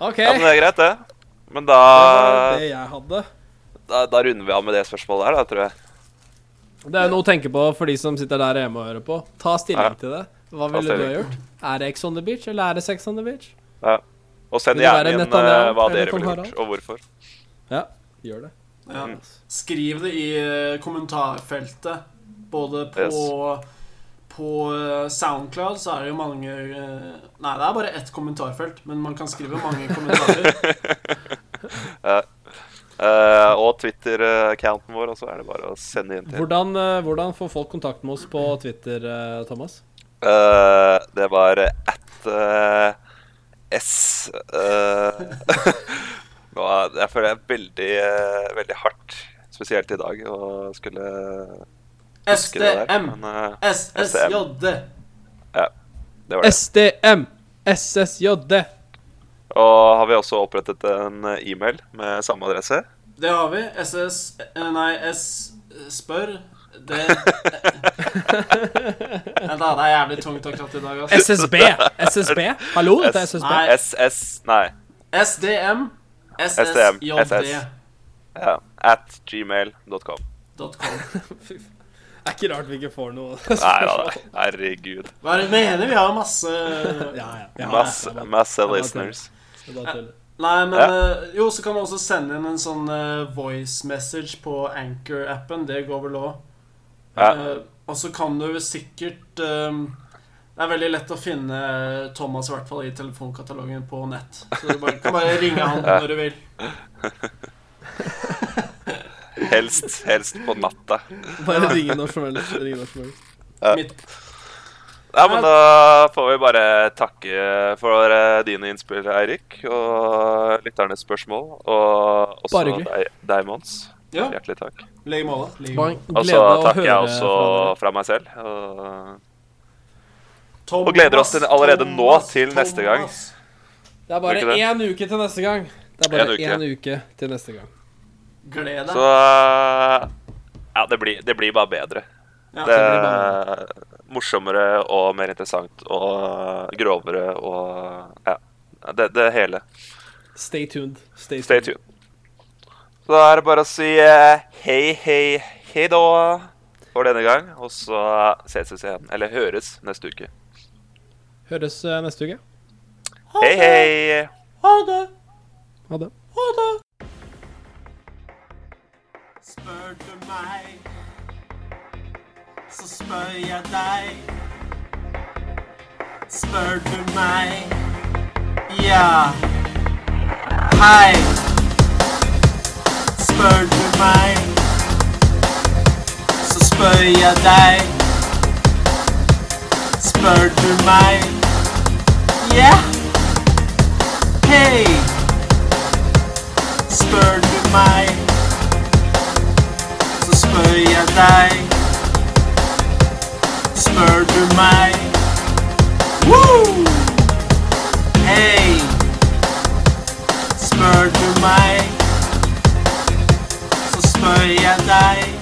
OK.
ja, men
det
det er greit, det. Men
var
da,
det jeg hadde.
da, da runder vi av med det spørsmålet her, da, tror jeg.
Det er jo noe å tenke på for de som sitter der hjemme og hører på. Ta stilling
Ja.
til det. Hva
Ta
ville du ha
stilling.
gjort? Er det Ex on the beach, eller er det Sex on the beach?
Og send
Vil du være
gjerne inn
Netanyahu
eh, hva
eller
dere
Tom
ville gjort,
Harald?
og hvorfor.
Ja, gjør det.
Ja. Mm.
Mm.
Skriv det i eh, kommentarfeltet. Både på På eh, Soundcloud så er det jo mange eh, Nei, det er bare ett kommentarfelt, men man kan skrive mange kommentarer.
[laughs] Eh, og Twitter-accounten vår, og så er det bare å sende inn til.
Hvordan, eh, hvordan får folk kontakt med oss på Twitter, eh, Thomas?
Eh, det var at eh, S eh, [laughs] Nå er- Jeg føler jeg er veldig, eh, veldig hardt, spesielt i dag, å skulle huske det der.
SDM,
Men eh,
SSJD.
det var det.
SDM,
[laughs]
SSJD.
Og har vi også opprettet en eh, e-mail med samme adresse.
Det har vi. SS eh, Nei, S eh, Spør. Det eh,
[laughs]
Vent, da. Det er jævlig tungt akkurat i dag, altså.
SSB. SSB. Hallo, det er SSB. [laughs]
Nei.
SS Nei.
SDM,
SDM,
SSJD.com.
Ja, at gmail.com.
Det er ikke rart vi ikke får noe
Nei da, nei. herregud.
Hva er det du mener? Vi har jo masse
Ja, ja. ja,
Masse,
ja, ja.
masse
det var
listeners.
Det var tull.
Nei, men
Ja.
eh, Jo, så kan man også sende inn en sånn eh, voice message på Anchor-appen. Det går vel òg.
Ja.
og så kan du sikkert eh, Det er veldig lett å finne eh, Thomas i hvert fall i telefonkatalogen på nett. Så du bare, kan bare ringe han
[laughs] Ja.
når du vil.
Helst, helst på natta.
Bare ringe når som helst. Ringe når som helst.
Ja.
Mitt,
Ja, men da får vi bare takke for eh, dine innspill, Eirik, og lytternes spørsmål. Og også
Bare hyggelig.
deg, deg, Mons.
ja,
Hjertelig takk.
legg måla. Legg
Bare
måla.
glede
Og så
å
takker jeg
høre
også
fra dere.
fra meg selv. Og
Thomas,
og gleder oss til allerede nå
Thomas,
til neste gang.
Thomas.
Det er
Gjør
bare
ikke
én uke til neste gang. Det er bare
En uke.
én uke til neste gang.
Gled deg.
så eh, Ja, det blir, det blir bare bedre.
Ja.
Det,
blir
Eh,
bare
morsommere og mer interessant og grovere og ja. Det, det hele.
Stay tuned. Stay
Stay tuned. Så da er det bare å si eh, hei, hei, hei da for denne gang. Og så ses vi igjen. Eller høres neste uke.
Høres eh, neste uke.
Hei, hei.
Ha det!
Ha det.
Ha det! Spør du meg, så spør jeg deg. Spør du meg, ja. Hei. Spør du meg, så spør jeg deg. Spør du meg, ja. Hei. Spør du meg, så spør jeg deg. Spør du meg Woo! Hei! Spør du meg, så spør jeg deg.